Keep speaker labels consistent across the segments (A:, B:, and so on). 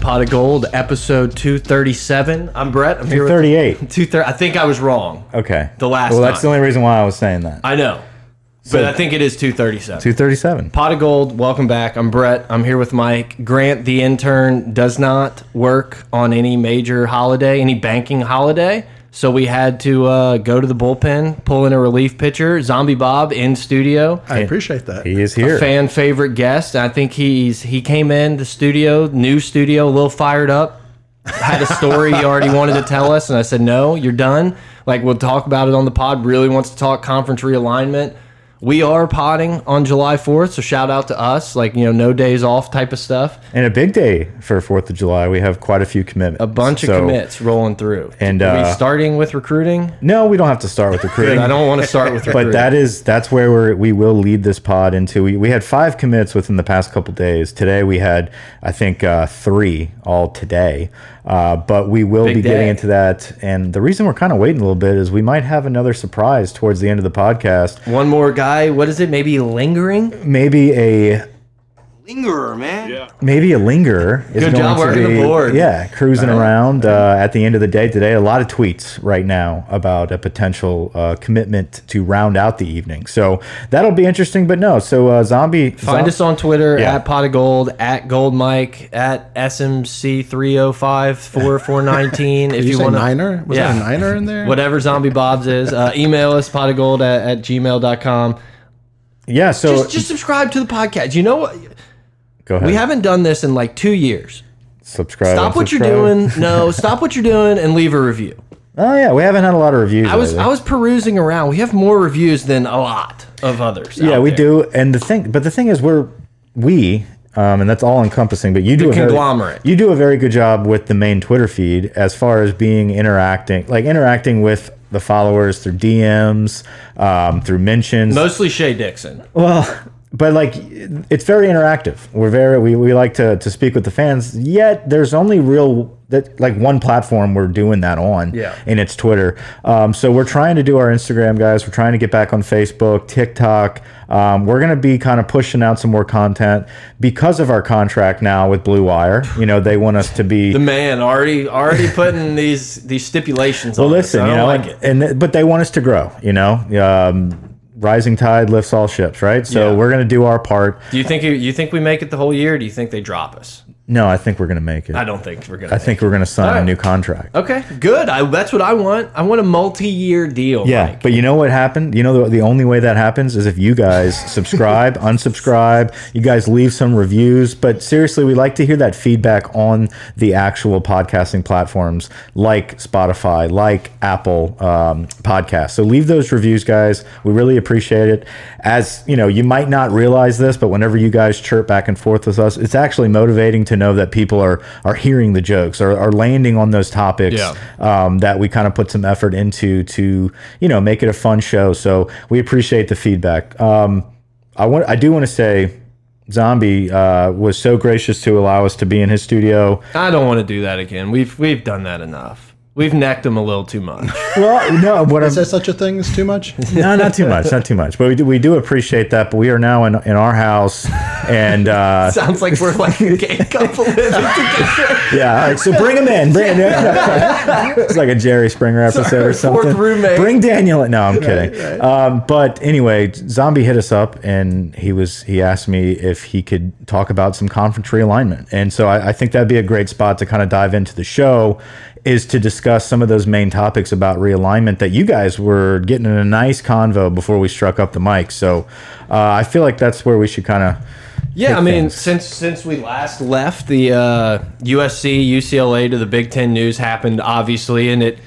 A: Pot of Gold, episode 237. I'm Brett. I'm here with
B: 38.
A: 230. I think I was wrong.
B: Okay.
A: The last
B: Well, that's
A: time.
B: the only reason why I was saying that.
A: I know. but I think it is 237.
B: 237.
A: Pot of Gold, welcome back. I'm Brett. I'm here with Mike. Grant, the intern, does not work on any major holiday, any banking holiday. So we had to uh, go to the bullpen, pull in a relief pitcher. Zombie Bob in studio.
C: I appreciate that.
B: He is
A: a
B: here.
A: fan favorite guest. I think he's he came in the studio, new studio, a little fired up. Had a story he already wanted to tell us, and I said, "No, you're done. Like we'll talk about it on the pod. Really wants to talk conference realignment. We are potting on July 4th, so shout out to us. Like you know, no days off type of stuff.
B: And a big day for 4th of July. We have quite a few commitments.
A: A bunch
B: So-
A: of commits rolling through.
B: And,
A: Are we
B: uh,
A: starting with recruiting.
B: No, we don't have to start with recruiting.
A: I don't want to start with recruiting.
B: But that is that's where we're, we will lead this pod into. We, we had five commits within the past couple days. Today we had I think uh, three all today. Uh, but we will
A: Big
B: be getting
A: day.
B: into that. And the reason we're kind of waiting a little bit is we might have another surprise towards the end of the podcast.
A: one more guy. What is it? Maybe lingering.
B: Maybe a
D: lingerer, man.
B: maybe a lingerer is
A: Good
B: going
A: job
B: to
A: working
B: be
A: the board.
B: yeah cruising around uh, at the end of the day today a lot of tweets right now about a potential uh, commitment to round out the evening so that'll be interesting but no so uh, zombie
A: Find us on Twitter
B: Yeah.
A: at Pot of Gold, at Gold Mike, at SMC 305 4419. If
C: Did you,
A: you,
C: say
A: want to,
C: niner? Was
A: Yeah.
C: that a niner in there?
A: whatever Zombie Bob's is, uh, email us pot of gold at, at gmail.com.
B: yeah so
A: Just, just subscribe to the podcast. You know what?
B: go ahead
A: We haven't done this in like two years.
B: subscribe
A: Stop what you're
B: unsubscribe.
A: doing. No, stop what you're doing and leave a review.
B: oh yeah we haven't had a lot of reviews
A: I was
B: lately.
A: I was perusing around. We have more reviews than a lot of others.
B: yeah
A: out
B: we
A: there.
B: do and the thing but the thing is we're we um, and that's all encompassing but you do a very-
A: conglomerate.
B: you do a very good job with the main twitter feed as far as being interacting like interacting with the followers through dms um, through mentions
A: Mostly Shay Dixon.
B: well but like it's very interactive we're very we, we like to, to speak with the fans yet there's only real that like one platform we're doing that on
A: Yeah.
B: and it's twitter um, so we're trying to do our instagram guys we're trying to get back on facebook tiktok um, we're going to be kind of pushing out some more content because of our contract now with blue wire you know they want us to be
A: The man already already putting these these stipulations
B: well,
A: on us.
B: listen,
A: I
B: you
A: don't
B: know,
A: like
B: and-
A: it.
B: and, th- but they want us to grow, you know. Um, rising tide lifts all ships, right? So
A: Yeah.
B: we're going to do our part.
A: Do you think you, you think we make it the whole year? Or do you think they drop us?
B: No, I think we're going to make it.
A: I
B: I,
A: don't think we're gonna. I
B: think we're going to sign
A: All right.
B: a new contract.
A: Okay, good. I, that's what I want. I want a multi-year deal.
B: Yeah,
A: Mike.
B: but you know what happened? You know the, the only way that happens is if you guys subscribe, unsubscribe, you guys leave some reviews, but seriously, we like to hear that feedback on the actual podcasting platforms like Spotify, like Apple um, Podcasts. So leave those reviews guys. We really appreciate it. As, you know, you might not realize this, but whenever you guys chirp back and forth with us, it's actually motivating to know that people are are hearing the jokes or are landing on those topics
A: Yeah.
B: um, that we kind of put some effort into to you know make it a fun show. So we appreciate the feedback. Um, I want I do want to say, Zombie uh, was so gracious to allow us to be in his studio.
A: I don't want to do that again. We've we've done that enough. We've necked them a little too much.
B: Well, no, what I'm
C: Is there such a thing as too much?
B: no, not too much, not too much. But we do, we do appreciate that. But we are now in in our house, and uh,
A: Sounds like we're like a gay couple living together.
B: yeah. All right, so bring him in. Bring him in. it's like a Jerry Springer episode or
A: Sorry, fourth
B: something.
A: roommate.
B: Bring Daniel. in. No, I'm kidding. Um, but anyway, Zombie hit us up and he was he asked me if he could talk about some conference realignment, and so I, I think that'd be a great spot to kind of dive into the show. Is to discuss some of those main topics about realignment that you guys were getting in a nice convo before we struck up the mic. So uh, I feel like that's where we should kind of
A: Yeah, I
B: Big
A: mean,
B: things.
A: since since we last left, the uh, USC UCLA to the Big Ten news happened, obviously, and it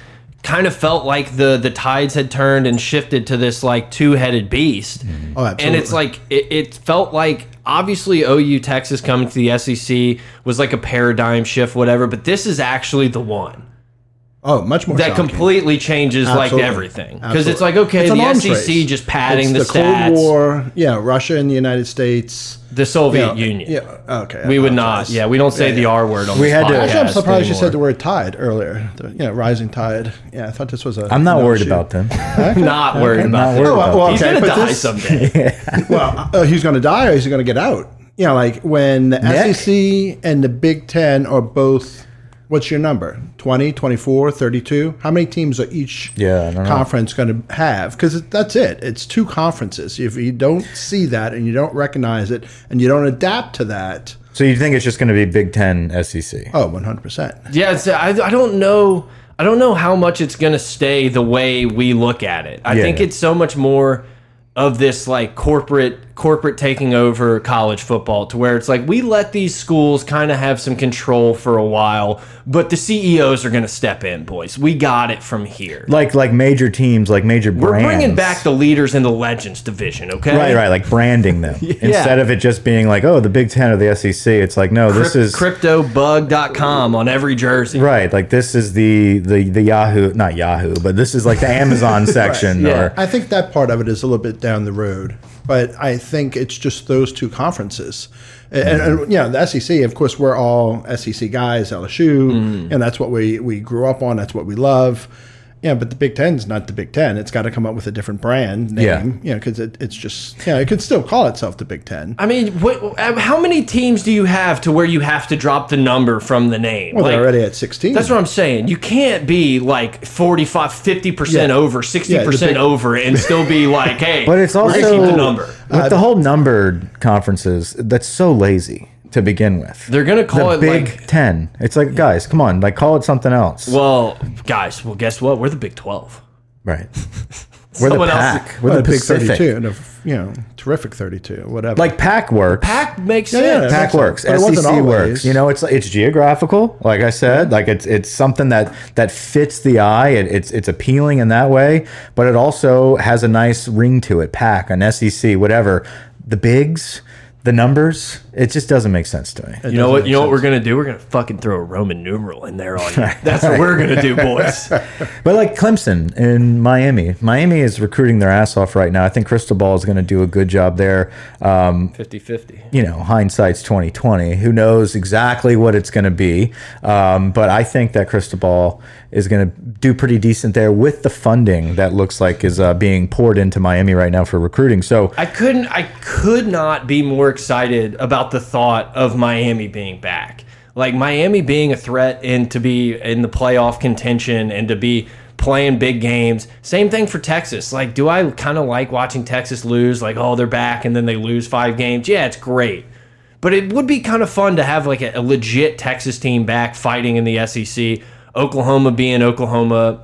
A: kind of felt like the the tides had turned and shifted to this like two headed beast.
B: Mm-hmm.
C: Oh,
A: and it's
C: absolutely.
A: like it, it felt like obviously OU Texas coming to the SEC was like a paradigm shift, whatever. But this is actually the one
C: Oh, much more.
A: that
C: shocking.
A: completely changes like
C: Absolutely.
A: everything because it's
C: Absolutely.
A: like okay,
C: It's an
A: the
C: arms
A: SEC
C: race.
A: just padding
C: It's
A: the,
C: Cold
A: stats,
C: War. Yeah, Russia and the United States.
A: the Soviet
C: yeah,
A: Union.
C: Yeah. Okay.
A: We
C: I
A: would not.
C: apologize.
A: Yeah, we don't say the R word on
B: We
A: this
B: had to-
A: podcast
C: Actually, I'm surprised you
A: anymore.
C: said the word tide earlier. The, you know, rising tide. Yeah, I thought this was a.
B: I'm not
C: an
B: worried
C: offshoot.
B: about them.
A: Not worried about
B: not
A: that.
B: worried
C: Oh,
B: about
C: well,
A: He's
C: okay,
A: gonna
C: but
A: die
C: this-
A: someday.
C: Well, uh, he's going to die or he's going to get out. you know, like when the
B: Nick?
C: SEC and the Big Ten are both, what's your number? 20, 24, 32? How many teams are each
B: Yeah, I don't know.
C: conference going to have? Because that's it. It's two conferences. If you don't see that and you don't recognize it and you don't adapt to that,
B: So you think it's just going to be Big Ten E SEC?
C: oh, 100%.
A: Yeah, it's, I, I don't know. I don't know how much it's going to stay the way we look at it. I
B: Yeah.
A: think it's so much more of this like corporate corporate taking over college football to where it's like we let these schools kind of have some control for a while, but the CEOs are going to step in, boys. We got it from here.
B: Like like major teams, like major
A: We're
B: brands.
A: bringing back the leaders in the legends division, okay?
B: right, right, like branding them instead of it just being like oh the Big Ten or the SEC. It's like no, this is
A: CryptoBug.com on every jersey.
B: right. Like this is the the the Yahoo, not Yahoo, but this is like the Amazon section
A: yeah.
B: or
C: I think that part of it is a little bit down the road, but I think it's just those two conferences. And, and,
A: Mm.
C: and, you know, the SEC, of course, we're all SEC guys, LSU,
A: Mm.
C: and that's what we, we grew up on. That's what we love. Yeah, but the Big Ten's not the Big Ten. It's got to come up with a different brand name,
B: Yeah.
C: you know, because it, it's just, you know, it could still call itself the Big Ten.
A: I mean, what, uh, how many teams do you have to where you have to drop the number from the name?
C: Well,
A: Like,
C: they're already at 16.
A: That's what I'm saying. You can't be like 45, 50%
C: Yeah.
A: over, 60%
C: big-
A: over, and still be like, hey,
B: But it's
A: we're
B: also
A: gonna keep the number. Uh,
B: with the whole numbered conferences. That's so lazy to begin with.
A: They're going to call
B: the
A: it
B: Big
A: like,
B: Ten. It's like guys, come on, like call it something else.
A: well, guys, well, guess what? We're the Big 12.
B: right. We're the
A: Someone else-
B: pack. We're the
C: a big
B: Pacific.
C: 32 and a, you know, terrific 32, whatever.
B: Like pack works.
A: Pack makes
C: yeah,
A: sense.
C: yeah.
B: Pack
C: Pac
B: works.
C: but it wasn't
B: SEC
C: always.
B: works. You know, it's it's geographical. Like I said, like it's it's something that that fits the eye. It, it's it's appealing in that way, but it also has a nice ring to it. Pack an SEC, whatever. The bigs, the numbers. It just doesn't make sense to me.
A: You know what? You know what we're gonna do? We're gonna fucking throw a Roman numeral in there on you. That's what we're gonna do, boys.
B: But like Clemson in Miami, Miami is recruiting their ass off right now. I think Cristobal is going to do a good job there. Um,
A: 50-50.
B: you know, hindsight's twenty twenty. Who knows exactly what it's going to be? Um, but I think that Cristobal is going to do pretty decent there with the funding that looks like is uh, being poured into Miami right now for recruiting. So
A: I couldn't I could not be more excited about the thought of Miami being back. Like Miami being a threat and to be in the playoff contention and to be playing big games. Same thing for Texas. Like do I kind of like watching Texas lose like oh they're back and then they lose 5 games? Yeah, it's great. But it would be kind of fun to have like a, a legit Texas team back fighting in the SEC, Oklahoma being Oklahoma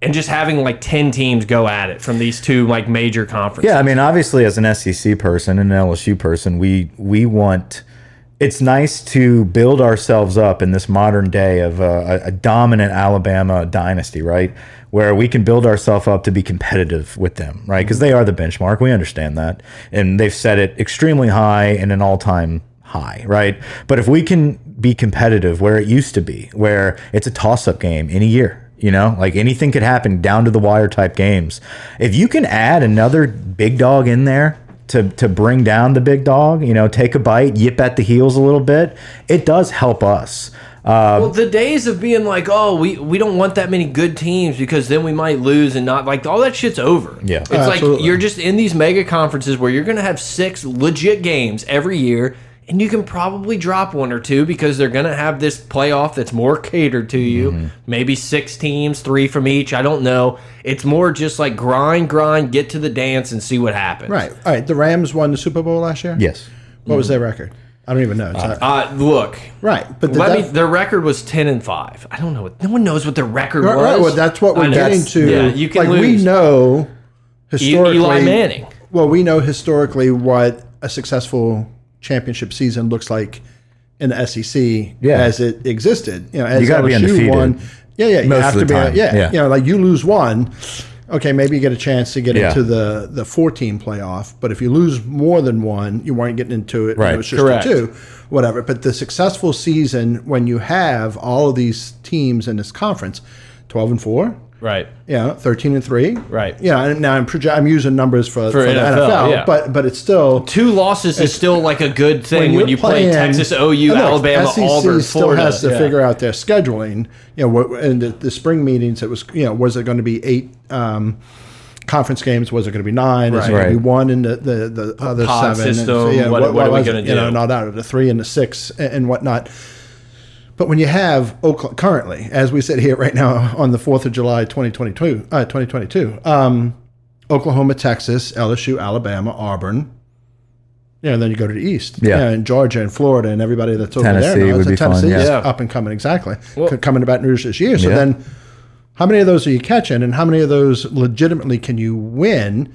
A: and just having like 10 teams go at it from these two like major conferences.
B: Yeah, I mean, obviously, as an SEC person and an LSU person, we we want. It's nice to build ourselves up in this modern day of uh, a, a dominant Alabama dynasty, right? Where we can build ourselves up to be competitive with them, right? Because they are the benchmark. We understand that, and they've set it extremely high and an all-time high, right? But if we can be competitive where it used to be, where it's a toss-up game any year, you know, like anything could happen down to the wire type games. If you can add another big dog in there to to bring down the big dog, you know, take a bite, yip at the heels a little bit, it does help us. Uh,
A: Well, the days of being like, oh, we, we don't want that many good teams because then we might lose and not like all that shit's over.
B: Yeah.
A: it's
B: Oh,
A: like
C: absolutely.
A: you're just in these mega conferences where you're gonna have six legit games every year, and you can probably drop one or two because they're gonna have this playoff that's more catered to you. Maybe six teams, three from each. I don't know. It's more just like grind, grind, get to the dance and see what happens.
C: right. All right. The Rams won the Super Bowl last year?
B: yes.
C: What was their record? I don't even know. It's not-
A: Uh, look.
C: right. But the
A: Let
C: def-
A: me, their record was ten and five. I don't know. what No one knows what their record
C: Right,
A: was.
C: right, well, that's what
A: I
C: we're
A: know.
C: getting to.
A: Yeah, you can
C: like
A: lose.
C: we know
A: E-
C: historically
A: Eli Manning.
C: Well, we know historically what a successful championship season looks like in the SEC
B: Yeah.
C: as it existed. You know, as
B: You gotta be
C: LSU
B: undefeated
C: won. Yeah, yeah, you
B: most of
C: have
B: the
C: to be.
B: time.
C: Yeah,
B: Yeah.
C: you know, like you lose one. Okay, maybe you get a chance to get
B: Yeah.
C: into the the four team playoff, but if you lose more than one, you weren't getting into it. and
B: Right.
C: it was just
A: Correct.
C: a two, whatever. But the successful season when you have all of these teams in this conference, twelve and four,
A: Right.
C: yeah, thirteen and three.
A: Right.
C: Yeah. and Now I'm proje- I'm using numbers for, for, the
A: NFL,
C: NFL,
A: yeah.
C: but but it's still
A: Two losses is still like a good thing when,
C: you're
A: you play
C: playing-
A: Texas, OU,
C: and look,
A: Alabama,
C: SEC
A: Auburn,
C: E still
A: Florida.
C: has to
A: Yeah.
C: figure out their scheduling. You know, what, and the, the spring meetings. It was you know was it going to be eight um, conference games was it going to be nine? Is it going
B: Right.
C: to be one and the the, the other
A: pod
C: seven?
A: system,
C: and
A: what- what are we
C: was it?
A: gonna
C: You know,
A: do?
C: not out of the three and the six and, and whatnot. But when you have Oakland currently, as we sit here right now on the fourth of July, twenty twenty two, uh, twenty twenty two, um, Oklahoma, Texas, LSU, Alabama, Auburn. Yeah, and then you go to the east.
B: Yeah.
C: and Georgia and Florida and everybody that's over there.
B: Tennessee
C: now.
B: would
C: So
B: be fun,
C: Tennessee is
A: yeah.
C: up and coming exactly,
A: Well-
C: C- coming to Baton Rouge this year. So
B: Yeah.
C: then, how many of those are you catching, and how many of those legitimately can you win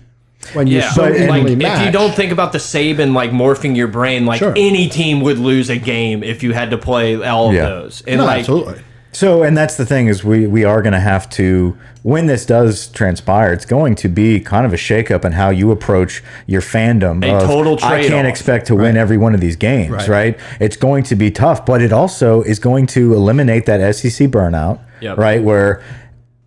C: when you
A: Yeah,
C: so
A: but like
C: evenly
A: if you
C: match?
A: don't think about the Saban like morphing your brain, like
C: Sure.
A: any team would lose a game if you had to play all of
B: Yeah.
A: those. And
C: No,
A: like,
C: absolutely.
B: So, and that's the thing is we we are going to have to when this does transpire, it's going to be kind of a shakeup in how you approach your fandom.
A: A
B: of,
A: total
B: I can't
A: trade-off."
B: expect to win every one of these games, right.
C: Right.
B: It's going to be tough, but it also is going to eliminate that SEC burnout,
A: Yep.
B: right? Where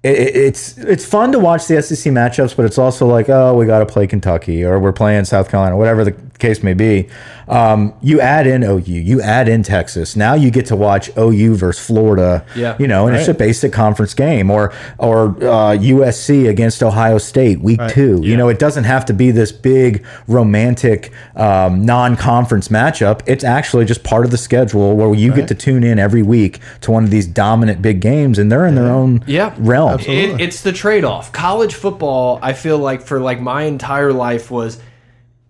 B: it, it- it's it's fun to watch the SEC matchups, but it's also like, oh, we got to play Kentucky or we're playing South Carolina, whatever the case may be. Um, you add in OU, you add in Texas. Now you get to watch OU versus Florida.
A: Yeah.
B: you know, and it's a basic conference game, or or uh, USC against Ohio State week two. You know, it doesn't have to be this big romantic um, non-conference matchup. It's actually just part of the schedule where you get to tune in every week to one of these dominant big games, and they're in their own
A: Yeah.
B: realm.
A: It, it's the trade-off. College football, I feel like for like my entire life was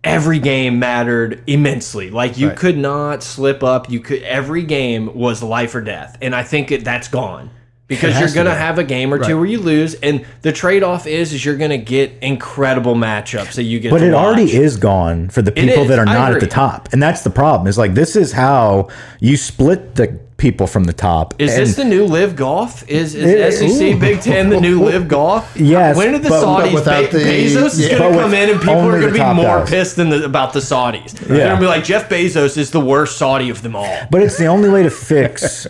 A: every game mattered immensely. Like you could not slip up. You could every game was life or death, and I think it, that's gone because you're gonna have a game or two where you lose, and the trade-off is is you're gonna get incredible matchups that you get.
B: But
A: to
B: it
A: watch.
B: already is gone for the people
A: is.
B: that are
A: I
B: not at the
A: agree.
B: top, and that's the problem. Is like this is how you split the people from the top.
A: Is
B: and-
A: this the new live golf? Is, is
B: It-
A: SEC
B: ooh.
A: Big Ten the new live golf?
B: Yes,
A: When are the
B: but- but
A: Saudis?
C: without
A: Be-
C: the-
A: Bezos is going to
B: But
C: yeah.
A: come
B: with
A: in and people
B: only
A: are
B: the
A: going to be
B: top
A: more
B: guys.
A: pissed than the, about the Saudis. They're
B: Yeah.
A: going to be like Jeff Bezos is the worst Saudi of them all.
B: But it's the only way to fix.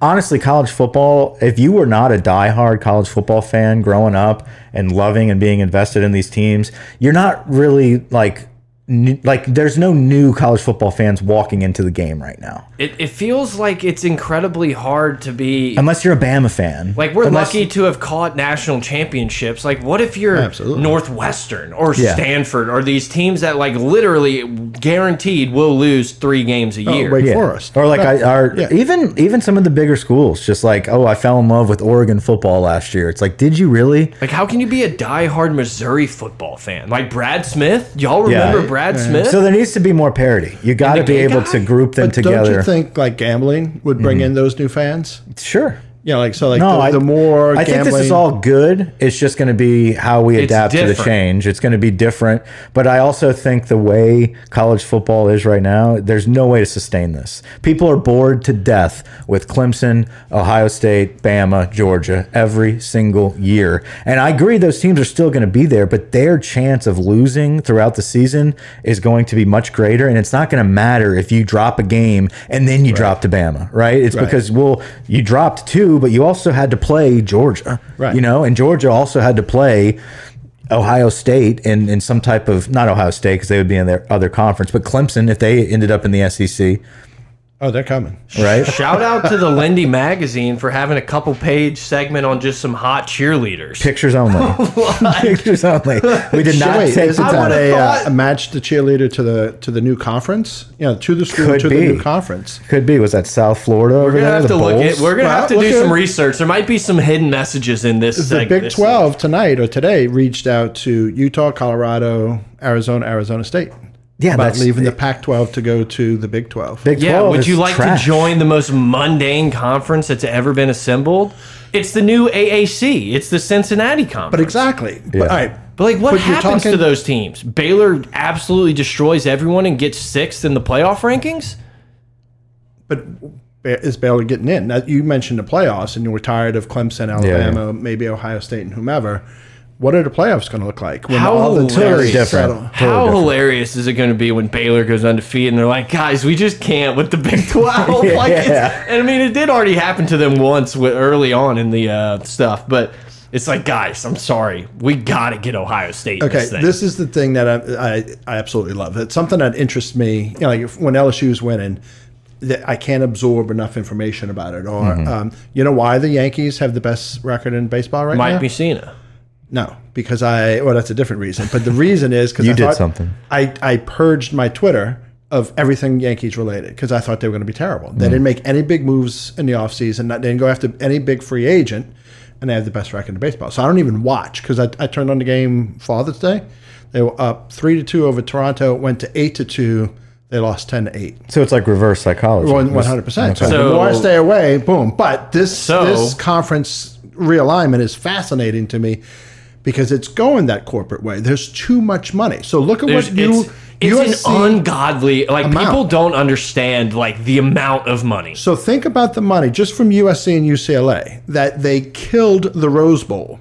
B: Honestly, college football, if you were not a diehard college football fan growing up and loving and being invested in these teams, you're not really like n- like there's no new college football fans walking into the game right now.
A: It, it feels like it's incredibly hard to be.
B: Unless you're a Bama fan.
A: like we're
B: Um, Unless-
A: lucky to have caught national championships. Like what if you're
C: Absolutely.
A: Northwestern or
B: Yeah.
A: Stanford or these teams that like literally guaranteed will lose three games
B: Oh,
A: a year?
C: Wake Forest.
B: Or like I are
C: Yeah.
B: even even some of the bigger schools just like, "Oh, I fell in love with Oregon football last year." It's like, "Did you really?"
A: Like, how can you be a diehard Missouri football fan? Like Brad Smith? Y'all
B: Yeah.
A: remember Brad Smith?
B: So there needs to be more parity. You got to be
A: gay
B: able
A: guy?
B: to group them
C: But
B: together.
C: don't you think like gambling would bring in those new fans?
B: sure.
C: Yeah, like so, like
B: No,
C: the,
B: I,
C: the more
B: I think this is
C: gambling-
B: all good. It's just going to be how we adapt to the
A: different.
B: change. It's going to be different. But I also think the way college football is right now, there's no way to sustain this. People are bored to death with Clemson, Ohio State, Bama, Georgia every single year. And I agree those teams are still going to be there, but their chance of losing throughout the season is going to be much greater. And it's not going to matter if you drop a game and then you drop to Bama, right? It's because, well, you dropped two, but you also had to play Georgia,
C: Right.
B: You know, and Georgia also had to play Ohio State in, in some type of, not Ohio State because they would be in their other conference, but Clemson if they ended up in the SEC,
C: Oh, they're coming.
B: right?
A: Shout out to the Lindy magazine for having a couple page segment on just some hot cheerleaders.
B: Pictures only. Pictures only. We did not take
C: Wait,
B: the
C: isn't that
B: time.
C: a,
A: thought-
C: uh, match the cheerleader to the to the new conference? You know, to the school
B: Could
C: to
B: be.
C: the new conference.
B: Could be. Was that South Florida over
A: We're
B: there?
A: gonna have
B: the
A: to look at.
B: Bulls?
A: We're gonna
C: Well,
A: have to
C: look
A: do
C: at-
A: some research. There might be some hidden messages in this.
C: The
A: seg-
C: Big
A: this-
C: Twelve tonight or today reached out to Utah, Colorado, Arizona, Arizona State
B: yeah,
C: about
B: that's
C: leaving the Pac-12 to go to the Big Twelve.
B: Big
A: Yeah,
B: 12
A: would
B: is
A: you like
B: trash.
A: to join the most mundane conference that's ever been assembled? It's the new AAC. It's the Cincinnati conference.
C: but exactly. But,
B: Yeah.
C: all right.
A: But like, what
C: But you're
A: happens to
C: talking-
A: those teams? Baylor absolutely destroys everyone and gets sixth in the playoff rankings.
C: But ba- is Baylor getting in? Now, you mentioned the playoffs, and you were tired of Clemson, Alabama, maybe Ohio State, and whomever. What are the playoffs going to look like when
A: How
C: all the
A: hilarious.
C: teams
B: Different.
C: settle?
A: How
B: different.
A: hilarious is it going to be when Baylor goes undefeated and they're like, guys, we just can't with the Big Twelve. Like, it's-
B: Yeah.
A: and I mean, it did already happen to them once with, early on in the uh, stuff, but it's like, guys, I'm sorry, we got to get Ohio State. in
C: Okay,
A: this, thing.
C: this is the thing that I, I I absolutely love. It's something that interests me. You know, like if, when LSU's winning, that I can't absorb enough information about it. Or um, you know why the Yankees have the best record in baseball right
A: Mike
C: now?
A: Mussina.
C: No, because I well, that's a different reason. But the reason is because
B: You
C: I
B: did
C: thought-
B: something.
C: I I purged my Twitter of everything Yankees related because I thought they were going to be terrible. They
B: Mm.
C: didn't make any big moves in the offseason. not- They didn't go after any big free agent, and they have the best record in baseball. So I don't even watch because I, I turned on the game Father's Day. They were up three to two over Toronto. Went to eight to two. They lost ten to eight.
B: So it's like reverse psychology.
C: One hundred percent. So
A: Okay.
C: the
A: So-
C: more I stay away, boom. But this
A: So-
C: this conference realignment is fascinating to me because it's going that corporate way. There's too much money. So look at
A: There's,
C: what you
A: it's, it's
C: USC
A: an ungodly like
C: amount.
A: people don't understand like the amount of money.
C: So think about the money just from USC and UCLA that they killed the Rose Bowl,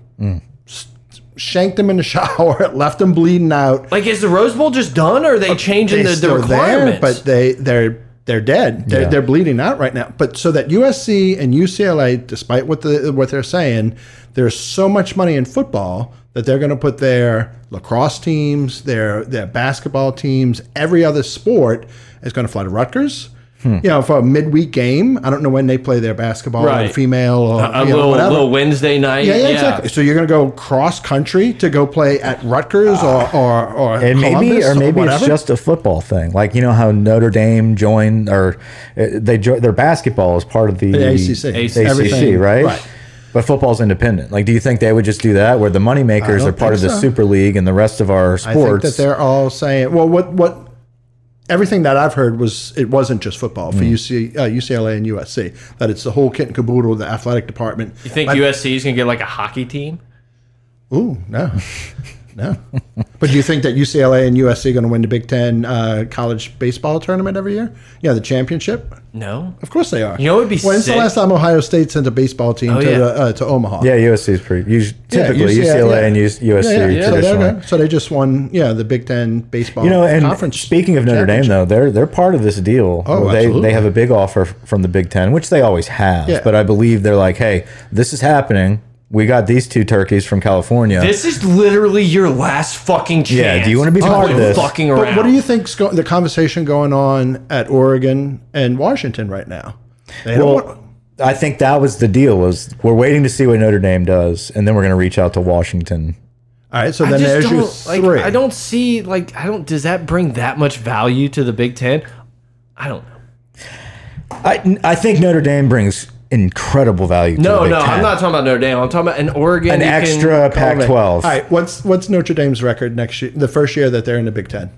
C: S- shanked them in the shower, left them bleeding out.
A: Like is the Rose Bowl just done or are they changing the, the
C: Uh, still
A: requirements?
C: but they they're they're dead. They're,
B: Yeah.
C: they're bleeding out right now. But so that USC and UCLA, despite what the what they're saying, there's so much money in football that they're going to put their lacrosse teams, their their basketball teams, every other sport is going to fly to Rutgers.
B: Hmm.
C: You know, for a midweek game, I don't know when they play their basketball
A: Right.
C: or female or
A: a
C: you know,
A: little,
C: whatever.
A: little Wednesday night.
C: Yeah, yeah, exactly. So you're going to go cross country to go play at Rutgers or or or
B: And maybe,
C: Columbus
B: or maybe it's
C: whatever?
B: just a football thing. Like you know how Notre Dame joined, or uh, they jo- their basketball is part of the,
C: The ACC.
B: ACC,
C: Everything.
B: right?
C: Right.
B: But football's independent. Like, do you think they would just do that, where the money makers
C: don't
B: are part of
C: think
B: the
C: so.
B: Super League and the rest of our
C: I think
B: sports?
C: that they're all saying, well, what what everything that I've heard was it wasn't just football
B: Mm.
C: for UC, uh, UCLA and USC that it's the whole kit and caboodle, the athletic department.
A: You think USC is gonna get like a hockey team?
C: Ooh, no, no. but do you think that UCLA and USC are going to win the Big Ten uh, college baseball tournament every year? Yeah, the championship.
A: No.
C: Of course they are.
A: You know what would be
C: When's
A: sick?
C: the last time Ohio State sent a baseball team
A: Oh,
C: to
A: yeah.
C: the, uh, to Omaha?
B: yeah, USC is pretty us-
C: Yeah,
B: typically
C: UCLA,
B: UCLA
C: yeah.
B: and US, USC
C: Yeah, yeah. So, they're
B: traditionally.
C: gonna- so they just won, yeah, the Big Ten baseball.
B: You know, and
C: conference
B: speaking of Notre Dame,
C: championship.
B: though, they're they're part of this deal.
C: Oh,
B: where they
C: absolutely.
B: they have a big offer from the Big Ten, which they always have.
C: Yeah.
B: But I believe they're like, hey, this is happening. We got these two turkeys from California.
A: This is literally your last fucking chance.
B: Yeah, do you wanna be part of
A: quit
B: this?
A: Fucking around.
C: But what do you think's go- the conversation going on at Oregon and Washington right now? They don't
B: well,
C: want-
B: I think that was the deal. Was we're waiting to see what Notre Dame does, and then we're going to reach out to Washington.
C: all right, so
A: I
C: then
A: just
C: there's your
A: don't, like,
C: three.
A: I don't see like I don't. Does that bring that much value to the Big Ten? I don't know.
B: I I think Notre Dame brings incredible value. to
A: No,
B: the Big
A: no,
B: Ten.
A: I'm not talking about Notre Dame. I'm talking about an Oregon.
B: An
A: you can-
B: extra
C: All
B: Pac-12.
C: right, what's what's Notre Dame's record next year? The first year that they're in the Big Ten,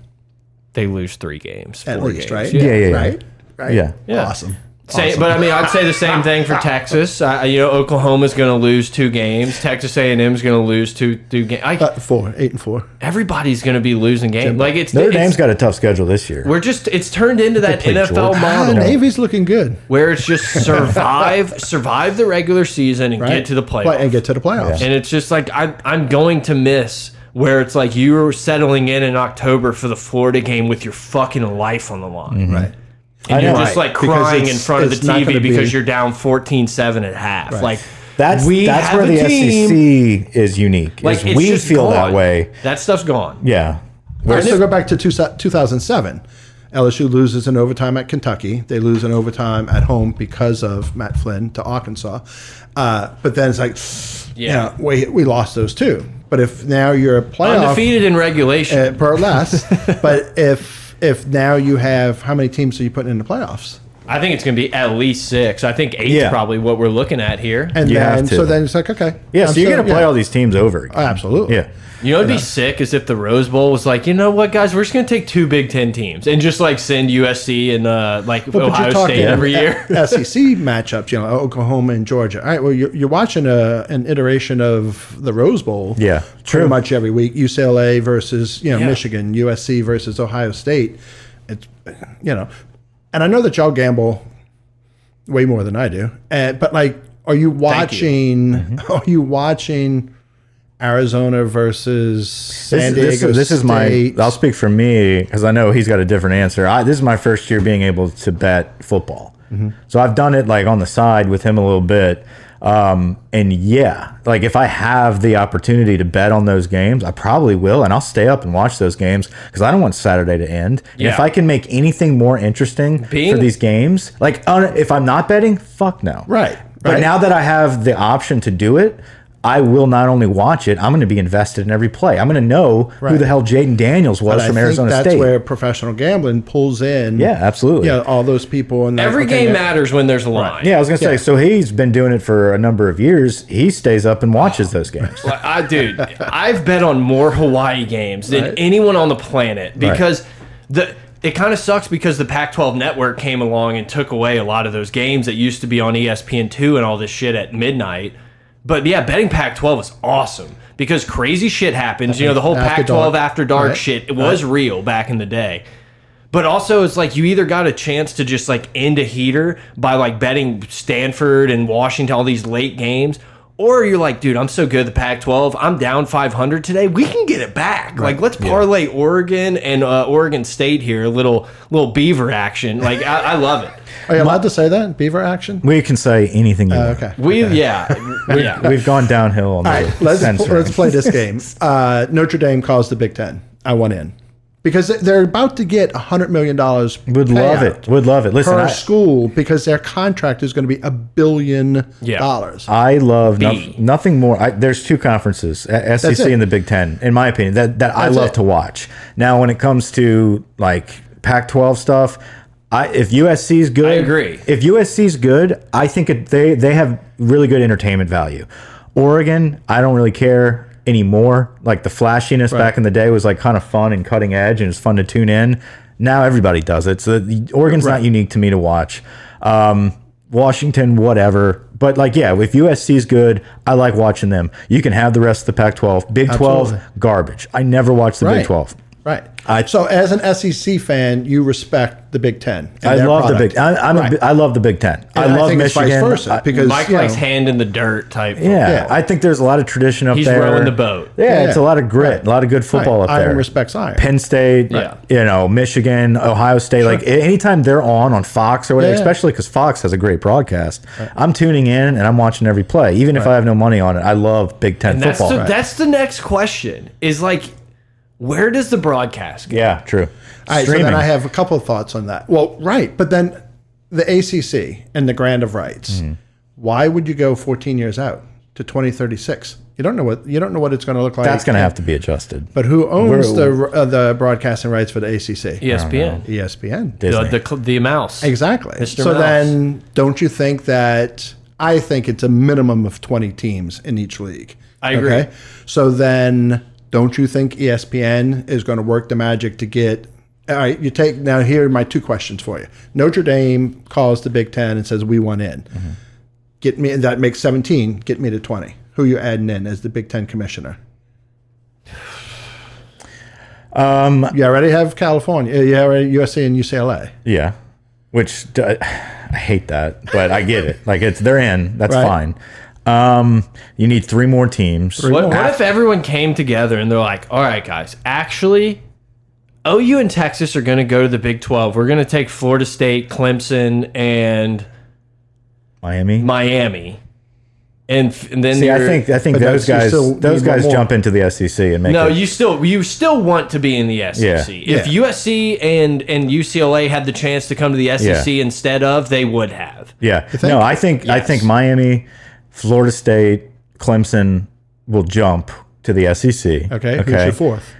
A: They lose three games,
C: at
A: four
C: least,
A: games.
C: right?
A: Yeah.
B: Yeah, yeah, yeah.
C: right, right.
B: Yeah.
A: Yeah.
C: awesome.
A: Same, but I mean, I'd say the same thing for Texas. I, you know, Oklahoma's going to lose two games. Texas A&M's going to lose two two games.
C: Uh, four, eight, and four.
A: everybody's going to be losing games. Like it's
B: Notre
A: it's,
B: Dame's got a tough schedule this year.
A: We're just it's turned into that
B: play
A: NFL
B: Georgia.
C: Ah,
A: model
C: Navy's looking good.
A: where it's just survive survive the regular season and
C: Right?
A: get to the
C: Play-
A: playoffs.
C: and get to the playoffs.
A: And it's just like I'm I'm going to miss where it's like you're settling in in October for the Florida game with your fucking life on the line.
B: Mm-hmm.
C: Right.
A: And
B: I
A: you're
B: know.
A: just like
C: Because
A: crying in
C: it's-
A: front of the
C: it's not
A: TV
C: gonna
A: because
C: be-
A: you're down 14-7 at half. Like
B: That's
A: we
B: that's
A: have
B: where
A: a
B: the
C: E
A: team.
B: SEC is unique.
A: Like
B: is
A: it's
B: we
A: just
B: feel that
A: gone.
B: way.
A: That stuff's gone.
B: Yeah.
C: All right, so go back to two, 2007. LSU loses in overtime at Kentucky. They lose in overtime at home because of Matt Flynn to Arkansas. Uh, but then it's like,
A: Yeah.
C: yeah, we, we lost those two. But if now you're a playoff
A: Undefeated in regulation.
C: uh, per less, but if if now you have how many teams are you putting in the playoffs?
A: I think it's going to be at least 6. I think 8 is
B: Yeah.
A: probably what we're looking at here.
C: And
B: You
C: then
B: have to.
C: so then it's like okay,
B: Yeah,
C: I'm
B: so you're
C: still-
B: going to play
C: yeah.
B: all these teams over.
C: Oh,
B: Again.
C: absolutely.
B: Yeah.
A: You know what'd be
C: uh,
A: sick is if the Rose Bowl was like, you know what, guys, we're just gonna take two Big Ten teams and just like send USC and uh, like
C: But
A: Ohio State every year.
C: SEC E matchups, you know, Oklahoma and Georgia. All right, well, you're, you're watching a, an iteration of the Rose Bowl.
B: Yeah, true.
C: Pretty much every week. UCLA versus, you know,
A: Yeah.
C: Michigan, USC versus Ohio State. It's, you know, and I know that y'all gamble way more than I do. And, but like, are you watching,
B: Mm-hmm.
C: are you watching Arizona versus San Diego?
B: this, this is my.
C: State?
B: I'll speak for me because I know he's got a different answer. I, this is my first year being able to bet football,
C: Mm-hmm.
B: so I've done it like on the side with him a little bit. Um, and yeah, like if I have the opportunity to bet on those games, I probably will, and I'll stay up and watch those games because I don't want Saturday to end. And if
A: Yeah.
B: I can make anything more interesting for
A: Being-
B: these games, like on, if I'm not betting, fuck no,
C: Right,
B: But
C: right.
B: now that I have the option to do it, I will not only watch it, I'm going to be invested in every play. I'm going to know who the hell Jaden Daniels was
C: But I
B: from
C: think
B: Arizona
C: that's
B: State.
C: where professional gambling pulls in.
B: yeah, absolutely.
C: Yeah, all those people and
A: Every game matters when there's a line.
B: Yeah, I was gonna say. So he's been doing it for a number of years. He stays up and watches those games.
A: Like, I dude, I've bet on more Hawaii games than anyone on the planet because the it kind of sucks because the Pac-12 network came along and took away a lot of those games that used to be on E ESPN2 and all this shit at midnight. But yeah, betting Pac-12 is awesome because crazy shit happens. You know, the whole
C: After
A: Pac-12
C: dark.
A: after dark
C: Right.
A: shit it was real back in the day. But also, it's like you either got a chance to just like end a heater by like betting Stanford and Washington, all these late games, or you're like, dude, I'm so good at the Pac 12. I'm down 500 today. We can get it back. Like, let's parlay Oregon and uh, Oregon State here. A little, little beaver action. Like, I, I love it.
C: Are you allowed to say that? Beaver action?
B: We can say anything you want.
C: Oh, Okay.
A: We, yeah. yeah.
B: We've gone downhill on the
C: All right, let's,
B: censoring.
C: let's play this game. Uh, Notre Dame calls the Big Ten. I want in because they- they're about to get $100 million.
B: Would
C: uh,
B: love it. Would love it. Listen,
C: Per
B: I,
C: school because their contract is going to be a billion
A: Yeah.
C: dollars.
B: I love no,
A: B.
B: nothing more. I, there's two conferences, a- SEC
C: it.
B: and the Big Ten, in my opinion, that that I
C: That's
B: love
C: it.
B: to watch. Now, when it comes to like Pac-12 stuff. I, if USC is good, I
A: agree.
B: If USC is good, I think it, they they have really good entertainment value. Oregon, I don't really care anymore. Like the flashiness back in the day was like kind of fun and cutting edge, and it's fun to tune in. Now everybody does it. So the- Oregon's not unique to me to watch. Um, Washington, whatever. But like, yeah, if USC is good, I like watching them. You can have the rest of the Pac-12. Big 12
C: Absolutely.
B: garbage. I never watched the Big
C: Right.
B: 12.
C: Right.
B: I-
C: so, as an SEC fan, you respect the Big Ten. and
B: I
C: their
B: love the
C: product.
B: Big. I, I'm a bi- I love the Big Ten. I
C: And
B: love
C: think it's
B: Michigan.
C: vice versa,
B: I-
C: because
A: Mike
C: you know,
A: likes hand in the dirt type.
B: Yeah,
C: Yeah.
B: I think there's a lot of tradition up
A: He's
B: there.
A: rowing the boat.
B: Yeah,
C: Yeah,
B: it's a lot of grit,
C: right.
B: a lot of good
C: right,
B: football up
C: iron
B: there.
C: respects iron.
B: Penn State,
A: Yeah.
B: you know, Michigan, Ohio State. Like a- anytime they're on on Fox or whatever,
C: Yeah.
B: especially because Fox has a great broadcast. I'm tuning in and I'm watching every play, even if I have no money on it. I love Big Ten
A: And that's,
B: football.
A: the, that's the next question is like, where does the broadcast go?
B: yeah, true.
C: All right, so
B: Streaming.
C: then I have a couple of thoughts on that. Well, right, but then the ACC and the grant of rights.
B: Hmm.
C: Why would you go 14 years out to 2036? You don't know what you don't know what it's going to look like.
B: that's going to have to be adjusted.
C: But who owns
B: We're-
C: the uh, the broadcasting rights for the ACC?
A: E ESPN.
C: E ESPN.
A: The,
B: Oh, Disney.
A: the, cl- the mouse.
C: Exactly.
A: Mr.
C: So
A: Mouse.
C: then, don't you think that I think it's a minimum of 20 teams in each league?
A: I agree.
C: So then, don't you think E ESPN is going to work the magic to get? All right, you take now. Here are my two questions for you. Notre Dame calls the Big Ten and says we want in.
A: Mm-hmm.
C: Get me that makes 17. Get me to 20. Who you adding in as the Big Ten commissioner? Um, you already have California. You already USC and UCLA.
B: Yeah, which d- I hate that, but I get it. Like it's they're in. That's
C: Right.
B: fine. Um, you need three more teams.
A: What, what if everyone came together and they're like, all right, guys, actually, OU and Texas are going to go to the Big 12. We're going to take Florida State, Clemson, and
B: Miami.
A: Miami. And, f- and then
B: See, I
A: you're-
B: think I think
C: But
B: those
C: that's- you
B: guys
C: still
B: those
C: need one
B: guys
C: more.
B: jump into the SEC and make
A: No,
B: it.
A: you still you still want to be in the SEC.
B: Yeah.
A: If USC and and UCLA had the chance to come to the SEC instead of, they would have.
B: yeah. No, I think I think
A: Yes.
B: Miami, Florida State, Clemson will jump to the E SEC.
C: Okay, who's your fourth?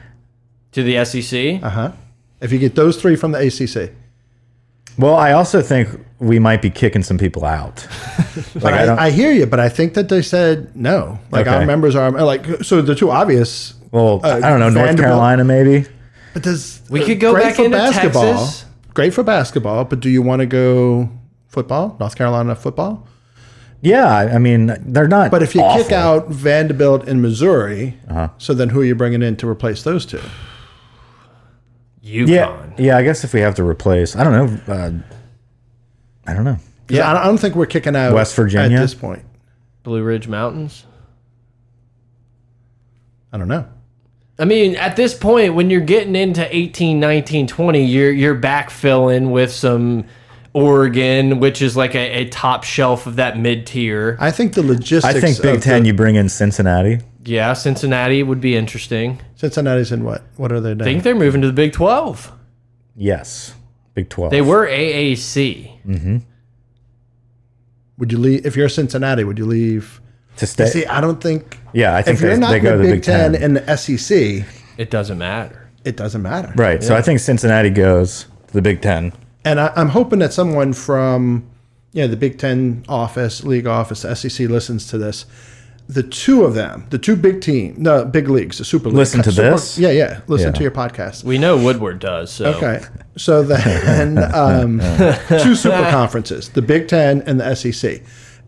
A: To the E SEC,
C: Uh
B: Uh-huh.
C: huh. If you get those three from the ACC,
B: Well, I also think we might be kicking some people out.
C: like
B: I don't-
C: I, I hear you, but I think that they said no. Like
B: Okay.
C: our members are like so the two obvious.
B: Well,
C: Uh,
B: I don't know North
C: Vanderbilt-
B: Carolina maybe.
C: But does
A: We could go
C: great
A: back
C: for
A: into
C: basketball?
A: Texas.
C: Great for basketball, but do you want to go football? North Carolina football.
B: Yeah, I I mean they're not.
C: But if you kick
B: awful. Uh-huh.
C: out Vanderbilt and Missouri, so then who are you bringing in to replace those two?
A: UConn.
B: Yeah, yeah. I guess if we have to replace, I don't know. Uh, I don't know.
C: Yeah, I don't- I don't think we're kicking out
B: West Virginia?
C: at this point.
A: Blue Ridge Mountains.
C: I don't know.
A: I mean, at this point, when you're getting into 18, 19, 20, you're, you're backfilling with some Oregon, which is like a, a top shelf of that mid tier.
C: I think the logistics.
B: I think Big
C: of
B: Ten.
C: the-
B: you bring in Cincinnati.
A: Yeah, Cincinnati would be interesting.
C: Cincinnati's in what? What are they
A: I
C: doing?
A: think they're moving to the Big 12.
B: Yes, Big Twelve.
A: They were AAC.
C: Would you leave if you're Cincinnati? Would you leave
B: to stay.
C: See, I don't think.
B: Yeah, I think
C: if you're
B: they-
C: not
B: they
C: in
B: go
C: the
B: to the
C: Big
B: Big
C: Ten,
B: Ten.
C: and the SEC,
A: It doesn't matter.
C: it doesn't matter.
B: right. So I think Cincinnati goes to the Big Ten.
C: And I, I'm hoping that someone from you know the Big Ten office, league office, SEC listens to this. The two of them, the two big team, no big leagues, the Super League.
B: Listen to
C: Super-
B: this?
C: Yeah, yeah. Listen
B: Yeah.
C: to your podcast.
A: We know Woodward does. So.
C: Okay. So then, um, two super conferences, the Big Ten and the SEC.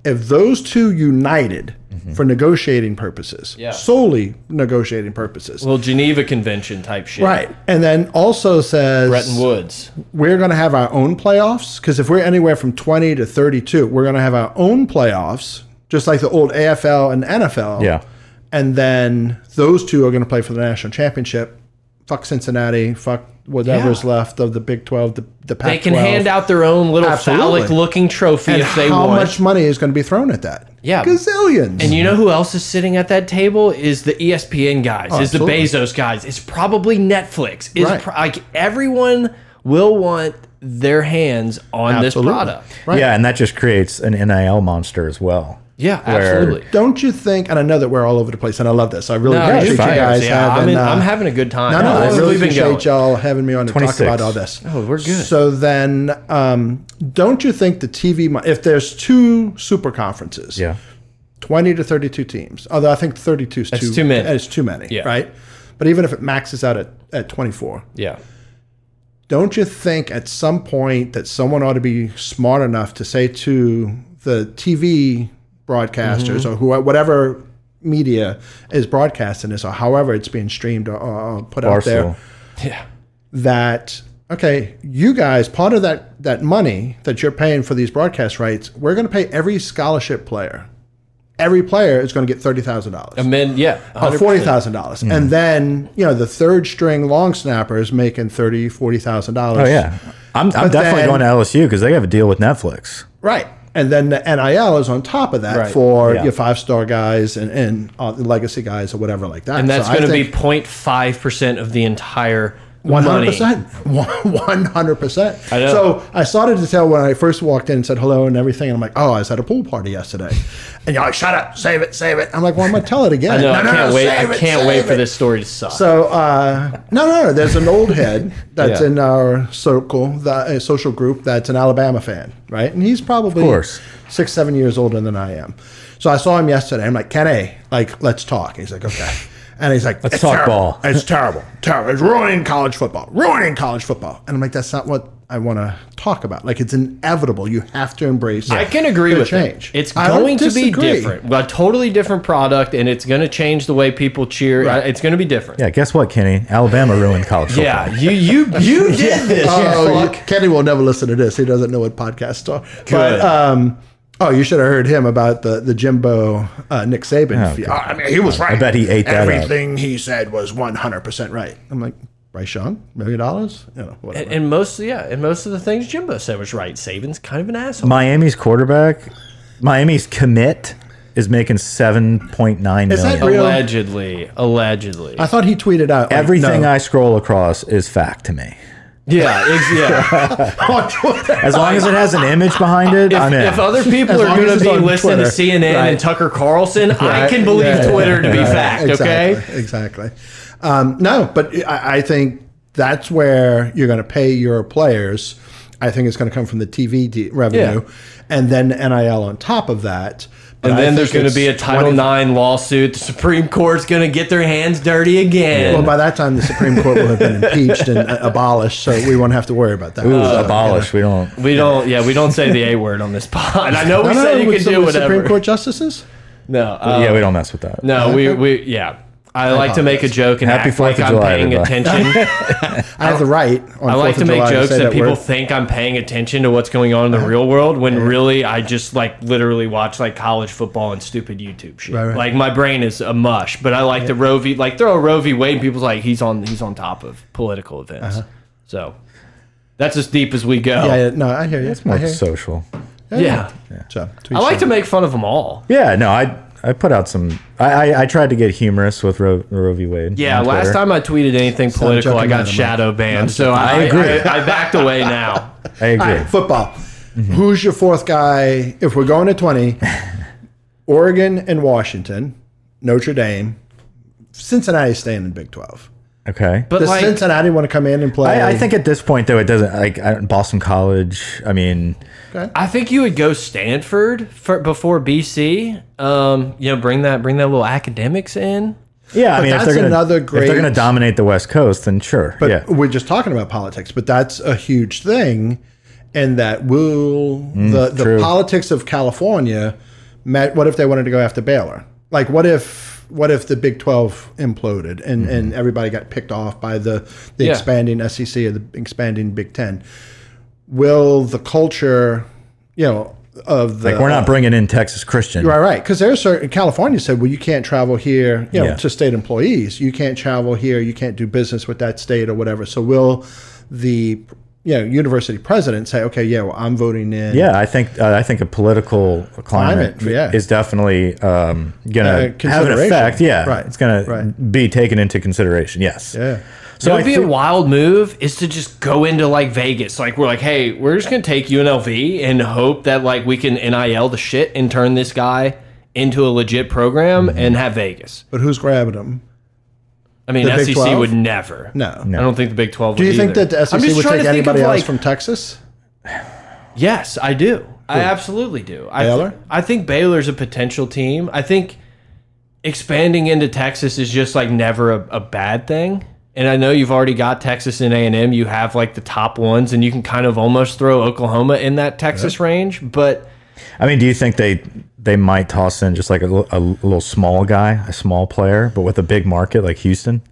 C: If those two united for negotiating purposes,
A: Mm-hmm. Yeah.
C: solely negotiating purposes,
A: Little Geneva Convention type shit.
C: right? And then also says
A: Bretton Woods.
C: we're going to have our own playoffs because if we're anywhere from 20 to 32, we're going to have our own playoffs, just like the old AFL and NFL.
B: Yeah.
C: And then those two are going to play for the national championship. Fuck Cincinnati. Fuck whatever's
A: Yeah.
C: left of the Big 12, the, the Pac
A: They can hand out their own little
C: Absolutely.
A: phallic looking trophy
C: and
A: if they
C: how
A: want.
C: much money is going to be thrown at that?
A: Yeah.
C: Gazillions.
A: And you know who else is sitting at that table is the E ESPN guys, is the
C: Oh, absolutely.
A: Bezos guys, it's probably Netflix. Is
C: Right.
A: pro- like everyone will want their hands on
C: Absolutely.
A: this product.
C: Right.
B: Yeah, and that just creates an NIL monster as well.
A: Yeah,
B: Where-
A: absolutely.
C: don't you think, and I know that we're all over the place, and I love this. I really
A: No,
C: appreciate you
A: it's fine.
C: guys
A: Yeah, I'm,
C: having.
A: in- I'm
C: uh,
A: having a good time.
C: No, no, I
A: That's
C: really
A: where we've been going.
C: appreciate y'all having me on to talk
B: 26.
C: about all this.
A: Oh, we're good.
C: So then, um, don't you think the TV, mo- if there's two super conferences,
B: Yeah.
C: 20 to 32 teams, although I think 32 is
A: That's too many.
C: It's too many,
A: Yeah.
C: right? But even if it maxes out at, at 24,
A: Yeah.
C: don't you think at some point that someone ought to be smart enough to say to the TV broadcasters or who, whatever media is broadcasting this or however it's being streamed or, or put out there
B: Arsenal.
A: Yeah.
C: that okay, you guys, part of that that money that you're paying for these broadcast rights, we're going to pay every scholarship player. Every player is going to get thirty thousand
A: I
C: dollars.
A: mean, yeah.
C: Or
A: 100%.
C: forty thousand dollars,
A: Mm-hmm.
C: and then you know the third string long snapper is making thirty, forty thousand dollars.
B: Oh yeah. I'm, I'm
C: But
B: definitely
C: then-
B: going to LSU because they have a deal with Netflix.
C: right. And then the NIL is on top of that
A: Right.
C: for
B: Yeah.
C: your five star guys and and uh, the legacy guys or whatever like that.
A: And that's
C: So I
A: going to be
C: think
A: 0.5% of the entire
C: One hundred
A: money.
C: percent, one hundred percent.
A: know.
C: So I started to tell when I first walked in and said hello and everything, and I'm like, "Oh, I was at a pool party yesterday," and you're like, "Shut up, save it, save it." I'm like, "Well, I'm gonna tell it again."
A: No, I can't wait.
C: save
A: I
C: it,
A: can't
C: save
A: wait for
C: it."
A: this story to suck.
C: So uh, no, no, no. There's an old head that's
A: Yeah.
C: in our circle, that uh, social group, that's an Alabama fan, right? And he's probably
B: course.
C: six, seven years older than I am. So I saw him yesterday. I'm like, Kenny, like, let's talk. He's like, okay. And he's like, let's
B: talk ball."
C: It's terrible, terrible. It's ruining college football, ruining college football. And I'm like, that's not what I want to talk about. Like, it's inevitable. You have to embrace.
A: I can agree
C: the
A: with change.
C: change.
A: It. It's
C: I don't
A: going to be
C: disagree.
A: different, a totally different product, and it's going to change the way people cheer.
C: Right.
A: It's going to be different.
B: Yeah. Guess what, Kenny? Alabama ruined college football.
A: Yeah, you you you did this.
C: Oh,
A: you
C: you-
A: fuck.
C: Kenny will never listen to this. He doesn't know what podcasts are. But um, oh, you should have heard him about the the Jimbo uh, Nick Saban.
A: Oh,
C: fe-
B: God.
C: I mean, he was right.
B: bet he ate that up.
C: Everything he said was one hundred percent Ah, right. I'm like, Bryce Young, million dollars, you know, whatever.
A: And most yeah, and most of the things Jimbo said was right. Saban's kind of an asshole.
B: Miami's quarterback, Miami's commit is making seven point nine
C: Is that
B: million.
C: real?
A: allegedly, allegedly.
C: I thought he tweeted out like,
B: Everything
C: no.
B: I scroll across is fact to me.
A: yeah, ex- yeah.
C: on Twitter.
B: As long as it has an image behind it, I'm in.
A: if other people
C: As
A: are
C: long
A: going
C: as it's
A: to be
C: on
A: listening
C: Twitter.
A: to CNN and Tucker Carlson, I
C: Right.
A: can believe
C: Yeah, yeah,
A: Twitter to be
C: yeah,
A: fact.
C: exactly,
A: Okay.
C: Exactly. Um, no, but I, I think that's where you're going to pay your players. I think it's going to come from the TV de- revenue, and then NIL on top of that. But
A: And
C: I
A: then
C: think
A: there's going to
C: it's
A: be a Title
C: 20
A: IX lawsuit. The Supreme Court's going to get their hands dirty again.
C: Well, by that time, the Supreme Court will have been impeached and uh, abolished, so we won't have to worry about that.
B: Ooh,
C: So,
B: abolish. We don't.
A: We don't. Yeah, we don't say the a word on this pod. I know
C: you
A: we
C: know. No, no,
A: said you
C: with
A: can
C: some
A: do
C: of the Supreme
A: whatever.
C: Court justices.
A: No. uh,
B: yeah, we don't mess with that.
A: No. We. We. Yeah. I like to make a joke and
B: Happy
A: act like
B: Fourth of
A: I'm
B: July,
A: paying
B: everybody.
A: attention.
C: I have the right. On
A: I like
C: 4th
A: to
C: of
A: make
C: July
A: jokes
C: say
A: and
C: that
A: people
C: word.
A: think I'm paying attention to what's going on in the real world when really I just like literally watch like college football and stupid YouTube shit.
C: Right, right.
A: Like my brain is a mush, but I like the Roe v. Like throw a Roe v. Wade and people's like he's on he's on top of political events. So that's as deep as we go.
C: Yeah, yeah, no, I hear you. It's
B: More social.
A: Yeah.
C: So,
A: I like to make fun of them all.
B: Yeah, no, I I put out some. I I, I tried to get humorous with Roe, Roe v. Wade.
A: Yeah,
B: on
A: last
B: Twitter.
A: time I tweeted anything political, I
C: joking
A: got
C: about it, Mike.
A: shadow banned. So I, I
B: agree.
A: I, I backed away now.
B: I agree. Mm-hmm.
C: All right, football. Who's your fourth guy? If we're going to 20, Oregon and Washington, Notre Dame, Cincinnati's staying in Big Twelve.
B: Okay.
A: But
C: Does
A: like,
C: Cincinnati want to come in and play?
B: I, I think at this point though it doesn't like I, Boston College. I mean,
A: I think you would go Stanford for, before BC. Um, you know, bring that bring that little academics in.
B: yeah. I mean,
C: that's
B: if they're gonna,
C: another
B: if
C: great-
B: they're going to dominate the West Coast, then sure.
C: But
B: yeah.
C: we're just talking about politics, but that's a huge thing, and that will the
B: Mm,
C: the
B: true.
C: politics of California. Met, what if they wanted to go after Baylor? Like, what if what if the Big Twelve imploded and
B: Mm-hmm.
C: and everybody got picked off by the the
A: Yeah.
C: expanding SEC or the expanding Big Ten? Will the culture, you know, of the
B: Like we're not bringing in Texas Christian.
C: Right, right. Because there's certain California said, well, you can't travel here, you know,
B: Yeah.
C: to state employees. You can't travel here. You can't do business with that state or whatever. So will the you know university president say, okay, yeah, well, I'm voting in.
B: Yeah, I think uh, I think a political climate,
C: Climate, yeah. Uh,
B: is definitely um, going to have an
C: consideration.
B: effect. Yeah,
C: Right,
B: it's going to
C: right.
B: be taken into consideration. Yes.
C: Yeah.
A: It
B: So I
A: would be a
B: feel,
A: wild move is to just go into like Vegas. Like we're like, hey, we're just gonna take UNLV and hope that like we can NIL the shit and turn this guy into a legit program and have Vegas.
C: But who's grabbing them?
A: I mean,
C: The Big
A: SEC
C: 12?
A: would never.
C: No.
A: I don't think the Big Twelve.
C: Do you
A: would
C: think
A: either.
C: that the SEC
A: I'm just
C: would
A: trying
C: take
A: to think
C: anybody
A: of,
C: else
A: like,
C: from Texas?
A: Yes, I do. I absolutely do. I th-
C: Baylor?
A: I think Baylor's a potential team. I think expanding into Texas is just like never a, a bad thing. And I know you've already got Texas and A and M. You have like the top ones, and you can kind of almost throw Oklahoma in that Texas range. But
B: I mean, do you think they they might toss in just like a, li- a little small guy, a small player, but with a big market like Houston?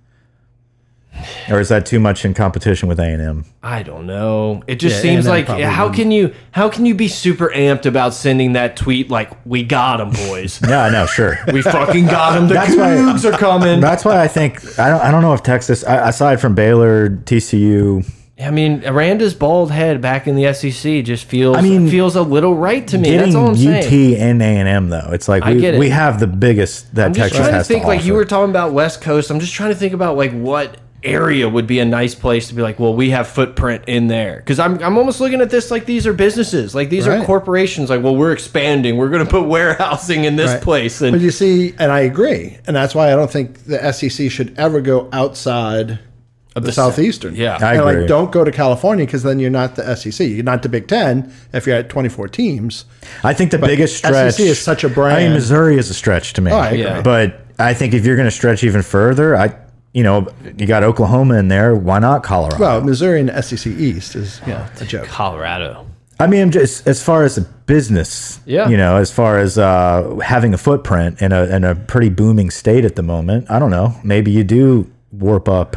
B: Or is that too much in competition with A and M?
A: I don't know. It just
C: Yeah,
A: seems
C: A&M
A: like
C: probably
A: how can you how can you be super amped about sending that tweet like we got them boys,
B: Yeah, I know, sure.
A: we fucking got them. The
B: That's why-
A: Cougs are coming.
B: That's why I think I don't. I don't know if Texas, I- aside from Baylor, TCU,
A: I mean, Aranda's bald head back in the SEC just feels. I
B: mean,
A: mean, feels a little right to me. That's
B: getting
A: all I'm
B: UT
A: saying.
B: and A and M though, it's like
A: I
B: we,
A: get it.
B: we have the biggest that
A: I'm just
B: Texas
A: trying to
B: has
A: think.
B: to
A: like you
B: offer.
A: were talking about West Coast, I'm just trying to think about like what area would be a nice place to be like. Well, we have footprint in there because I'm I'm almost looking at this like these are businesses, like these
C: Right.
A: are corporations. Like, well, we're expanding. We're going to put warehousing in this
C: Right.
A: place,
C: But
A: and
C: you see, and I agree, and that's why I don't think the SEC should ever go outside of the, southeastern.
A: yeah.
B: I
C: And,
B: agree.
C: like, don't go to California because then you're not the SEC. You're not the Big Ten if you're at 24 teams.
B: I think the biggest stretch
C: SEC E is such a
B: I mean,
C: brand. Oh,
B: Missouri is a stretch to me.
C: I agree.
A: Yeah.
B: But I think if you're going to stretch even further, I you know you got Oklahoma in there. Why not Colorado?
C: Well, Missouri and SEC East is you know,
A: Oh,
C: a joke.
A: Colorado.
B: I mean, I'm just as far as a business,
A: Yeah.
B: You know, as far as uh, having a footprint in a in a pretty booming state at the moment. I don't know. Maybe you do warp up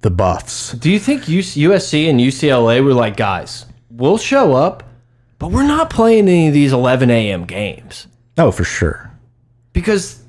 B: the buffs.
A: Do you think UC USC and UCLA were like, guys, we'll show up, but we're not playing any of these 11 a.m. games?
B: Oh, for sure.
A: because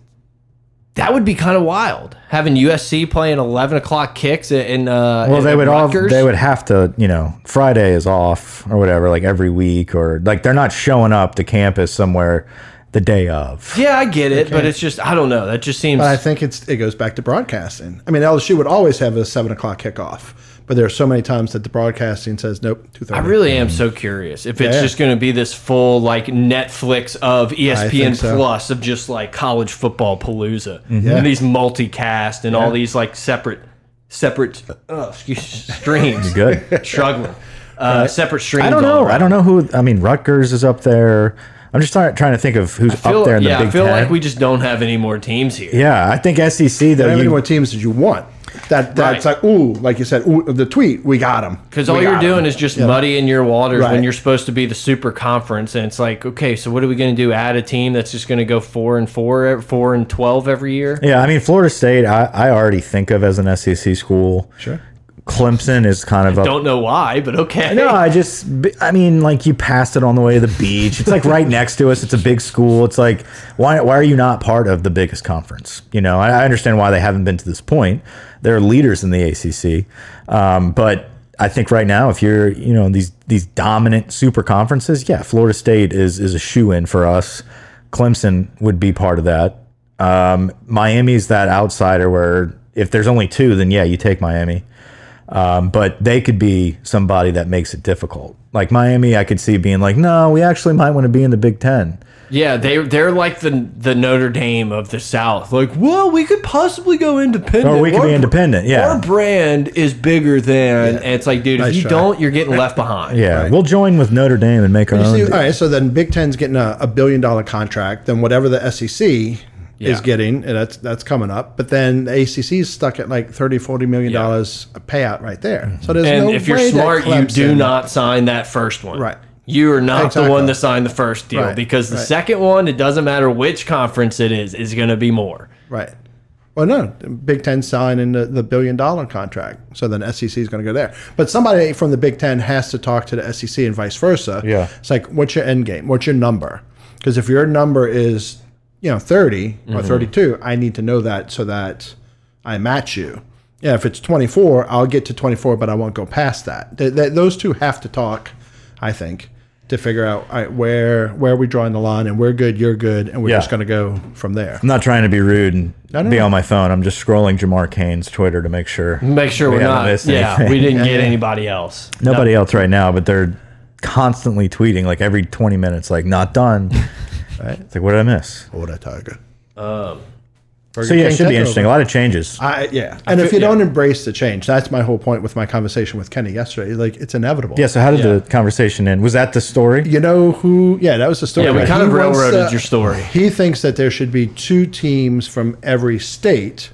A: that would be kind of wild having USC playing eleven o'clock kicks in- in. Uh,
B: Well,
A: in
B: they would all
A: Rutgers.
B: they would have to, you know, Friday is off or whatever, like every week or like they're not showing up to campus somewhere the day of.
A: Yeah, I get it, but it's just I don't know. That just seems.
C: But I think it's it goes back to broadcasting. I mean, LSU would always have a seven o'clock kickoff, but there are so many times that the broadcasting says nope, two
A: I
C: thirty.
A: really am so curious if it's
C: Yeah.
A: just going to be this full like Netflix of E ESPN
C: so.
A: Plus of just like college football palooza
B: Mm-hmm.
A: and these multicast and all these like separate separate uh, excuse streams.
B: Good.
A: struggling. Uh, Separate streams.
B: I don't
A: all
B: know. I
A: around.
B: don't know who I mean Rutgers is up there. I'm just trying, trying to think of who's
A: Feel-
B: up there in the
A: yeah,
B: Big
A: I feel
B: 10.
A: like we just don't have any more teams here.
B: yeah, I think SEC
C: How
B: though
C: many
B: you,
C: more teams did you want? That that's
A: Right.
C: like ooh, like you said, ooh, the tweet we got them
A: Because all you're doing is just muddying your waters when
C: Right.
A: you're supposed to be the super conference, and it's like, okay, so what are we going to do? Add a team that's just going to go four and four, ev- four and twelve every year?
B: Yeah, I mean Florida State I, I already think of as an SEC school. Sure. Clemson is kind of up
A: Don't know why, but okay.
B: No, I just, I mean, like you passed it on the way to the beach. It's like right next to us. It's a big school. It's like, why, why are you not part of the biggest conference? You know, I, I understand why they haven't been to this point. They're leaders in the ACC, um, but I think right now, if you're, you know, these these dominant super conferences, yeah, Florida State is is a shoe in for us. Clemson would be part of that. Um, Miami's that outsider where if there's only two, then yeah, you take Miami. Um, but they could be somebody that makes it difficult. Like Miami, I could see being like, no, we actually might want to be in the Big Ten.
A: Yeah, they they're like the the Notre Dame of the South. Like, well, we could possibly go independent,
B: Or we could
A: Our
B: be
A: br-
B: independent, yeah.
A: our brand is bigger than. And it's like, dude, if
C: Nice
A: you
C: try.
A: don't, you're getting left behind.
B: Yeah, we'll join with Notre Dame and make our
C: You
B: own.
C: see, all right, so then Big Ten's getting a, a billion dollar contract, then whatever the SEC
A: Yeah.
C: is getting, and that's that's coming up. But then the ACC is stuck at like 30, 40 million dollars a payout right there. So there's
A: And
C: no
A: if you're
C: way that
A: smart, you do
C: Clemson-
A: not sign that first one.
C: Right.
A: You are not the
C: Exactly.
A: one to sign the first deal
C: Right,
A: because the
C: right.
A: second one, it doesn't matter which conference it is, is going to be more.
C: Right. Well, no, Big Ten signing the, the billion dollar contract. So then SEC is going to go there. But somebody from the Big Ten has to talk to the SEC and vice versa.
B: Yeah.
C: It's like, what's your end game? What's your number? Because if your number is, you know, 30
B: Mm-hmm.
C: or 32, I need to know that so that I match you. Yeah, if it's 24, I'll get to 24, but I won't go past that. Th- th- those two have to talk, I think, to figure out all right, where where are we drawing the line and we're good, you're good, and we're
B: Yeah.
C: just going to go from there.
B: I'm not trying to be rude and
C: no,
B: be
C: no.
B: on my phone. I'm just scrolling Jamar Kane's Twitter to make sure.
A: Make sure
B: we
A: we are
B: haven't
A: not.
B: missed
A: Yeah,
B: anything.
A: we didn't get anybody else.
B: Nobody else right now, but they're constantly tweeting like every 20 minutes, like not done. right? It's like, what did I miss?
C: What a tiger.
A: Um,
B: So yeah, it
C: King
B: should be
C: takeover.
B: interesting. A lot of changes.
C: I, yeah. And if you don't embrace the change, that's my whole point with my conversation with Kenny yesterday. Like, it's inevitable.
B: Yeah. So how did the conversation end? Was that the story?
C: You know who? Yeah, that was the story.
A: Yeah, we
C: Like,
A: kind
C: he
A: of
C: wants
A: railroaded
C: to-
A: your story.
C: He thinks that there should be two teams from every state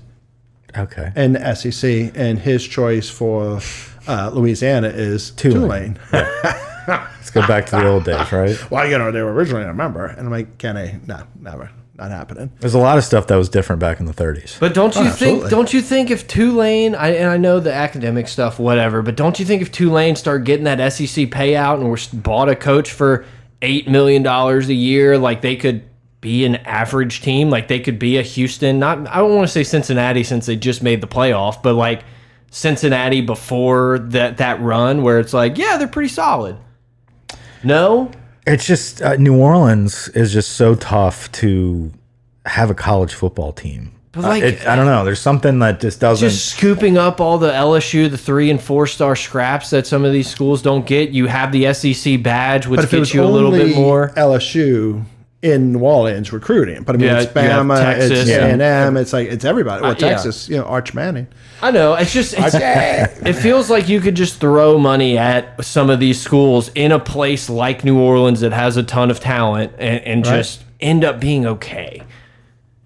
B: Okay.
C: in the SEC, and his choice for uh, Louisiana is Tulane.
B: Let's go back to the old days, right?
C: Well, you know, they were originally a member. And I'm like, Kenny, no, never. Not happening.
B: There's a lot of stuff that was different back in the 30s.
A: But don't you think?
C: absolutely.
A: Don't you think if Tulane? I, and I know the academic stuff, whatever. But don't you think if Tulane start getting that SEC payout and we're s- bought a coach for eight million dollars a year, like they could be an average team, like they could be a Houston. Not I don't want to say Cincinnati since they just made the playoff, but like Cincinnati before that that run where it's like, yeah, they're pretty solid. No,
B: It's just uh, New Orleans is just so tough to have a college football team.
A: But, like-
B: Uh, it- I don't know. There's something that just doesn't.
A: just scooping up all the LSU, the three and four star scraps that some of these schools don't get. You have the SEC badge, which
C: But if it
A: gets
C: was
A: you a little bit
C: only
A: more.
C: LSU in New Orleans recruiting, but I mean,
A: Yeah,
C: it's
A: you have
C: Bama,
A: Texas
C: it's
A: and- Uh,
C: A&M, it's like it's everybody. Well,
A: yeah.
C: Texas, you know, Arch Manning.
A: I know. It's just it's, it feels like you could just throw money at some of these schools in a place like New Orleans that has a ton of talent and, and just end up being okay.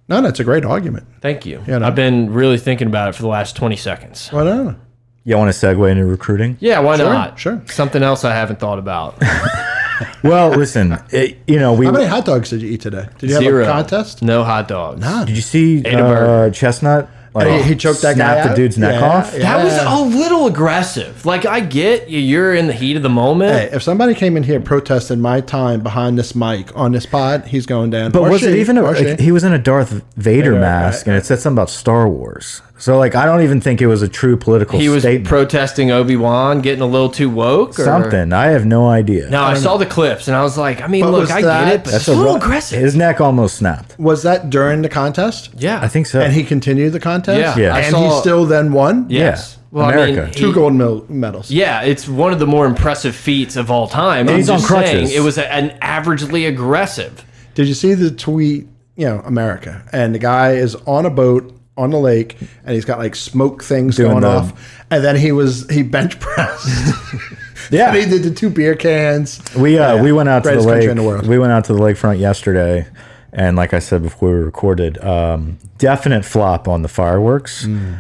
C: No, that's a great argument.
A: Thank you.
C: no.
A: I've been really thinking about it for the last twenty seconds.
C: Why not?
B: you want to segue into recruiting?
A: Yeah, why not?
C: sure.
A: Something else I haven't thought about.
B: Well, listen, it, you know, we.
C: How many hot dogs did you eat today? Did you
A: Zero
C: have a contest?
A: No hot dogs.
B: Did you see
A: a
B: uh, Chestnut? Like,
C: He- he choked that guy
B: snapped the
C: out?
B: dude's neck
C: Yeah,
B: off.
C: yeah.
A: That was a little aggressive. Like I get you, you're in the heat of the moment.
C: Hey, if somebody came in here protesting my time behind this mic on this pod, he's going down.
B: But
C: Or
B: was it
C: she,
B: even a,
C: or
B: like,
C: she.
B: he was in a Darth Vader
C: right,
B: mask, and it said something about Star Wars. So like, I don't even think it was a true political
A: he was
B: statement.
A: protesting Obi Wan, getting a little too woke. Or?
B: something. I have no idea.
A: No, I, saw the clips and I was like, I mean,
C: But
A: look,
C: was
A: I get
C: that-
A: it, but it's a
B: a
A: little
B: ru-
A: aggressive.
B: His neck almost snapped.
C: was that during the contest?
A: yeah,
B: I think so.
C: And he continued the contest?
A: Yeah,
B: Yeah.
A: I
C: And
A: saw.
C: he still then won?
A: yes.
B: Yeah,
A: Well, I
B: America.
A: mean,
C: Two
A: he-
C: gold mel- medals.
A: Yeah, it's one of the more impressive feats of all time. I'm
B: he's on
A: just saying,
B: crutches.
A: it was a, an averagely aggressive.
C: Did you see the tweet? You know, America, and the guy is on a boat on the lake, and he's got like smoke things
B: Doing
C: going
B: the-
C: off, and then he was he bench pressed.
B: Yeah.
C: and he did the two beer cans.
B: We uh, we went out to the
C: Greatest country
B: lake.
C: in the world.
B: We went out to the lakefront yesterday, and like I said before we recorded, um, definite flop on the fireworks.
C: Mm.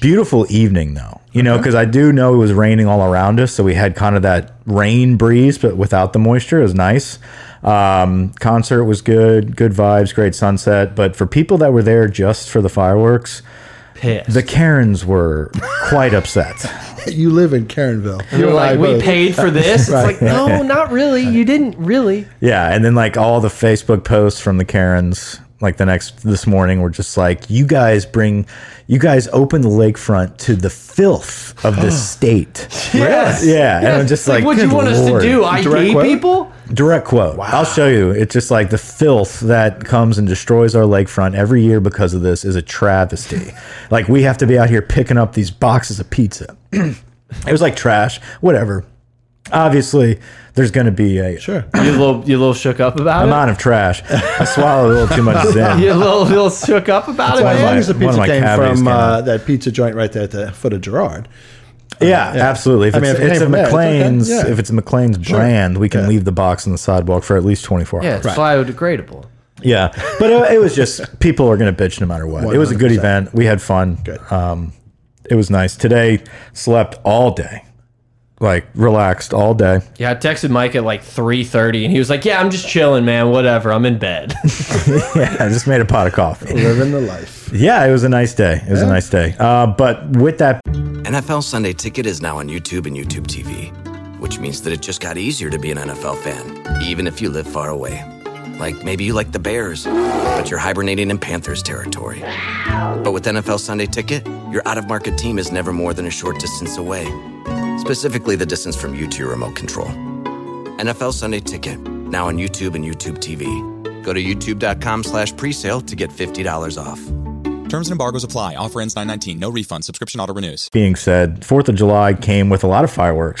B: Beautiful evening though, you know, because I do know it was raining all around us, so we had kind of that rain breeze, but without the moisture. It was nice. Um, concert was good, good vibes, great sunset. But for people that were there just for the fireworks,
A: Piss.
B: the Karens were quite upset.
C: You live in Karenville.
A: You're
C: and I
A: like, we
C: both.
A: paid for this. It's like, no, not really. You didn't really.
B: Yeah, and then like all the Facebook posts from the Karens, like the next this morning, were just like, "You guys bring, you guys open the lakefront to the filth of this state."
A: Yes.
B: Yeah, and I'm
A: Yes.
B: just like,
A: what do you
B: "Good
A: want us to
B: Lord."
A: do? ID
C: Direct quote?
A: people?
B: Direct quote. I'll show you. It's just like the filth that comes and destroys our lakefront every year because of this is a travesty. like we have to be out here picking up these boxes of pizza. it was like trash. Whatever. Obviously, there's going to be a
C: Sure.
A: You a little, you a little shook up about it.
B: amount of trash. I swallowed a little too much zen.
A: You a little, little shook up about it.
C: Well, as
A: Man?
C: long as the
B: One of
C: pizza
B: my
C: came
B: cavities
C: from
B: came
C: uh,
B: out.
C: that pizza joint right there at the foot of Gerard.
B: Yeah, absolutely. If
C: I mean,
B: it's,
C: if it
B: it's
C: came
B: a
C: from there, it's okay.
B: McLean's,
C: Yeah.
B: if it's a McLean's brand, we can leave the box on the sidewalk for at least 24
A: Yeah,
B: hours.
A: it's biodegradable.
B: Yeah, but it, it was just people are going to bitch no matter what. It was a good
C: 100%.
B: event. We had fun.
C: Good.
B: Um, it was nice. Today slept all day, like relaxed all day.
A: Yeah, I texted Mike at like 3:30, and he was like, "Yeah, I'm just chilling, man. Whatever. I'm in bed."
B: I just made a pot of coffee.
C: Living the life.
B: Yeah, it was a nice day. It was a nice day. Uh, but with that,
E: NFL Sunday Ticket is now on YouTube and YouTube TV, which means that it just got easier to be an NFL fan, even if you live far away. Like maybe you like the Bears, but you're hibernating in Panthers territory. But with NFL Sunday Ticket, your out of market team is never more than a short distance away, specifically the distance from you to your remote control. NFL Sunday Ticket, now on YouTube and YouTube TV. Go to youtube.com slash presale to get $50 off.
F: Terms and embargoes apply. Offer ends 919. No refund. Subscription auto renews.
B: being said, Fourth of July came with a lot of fireworks.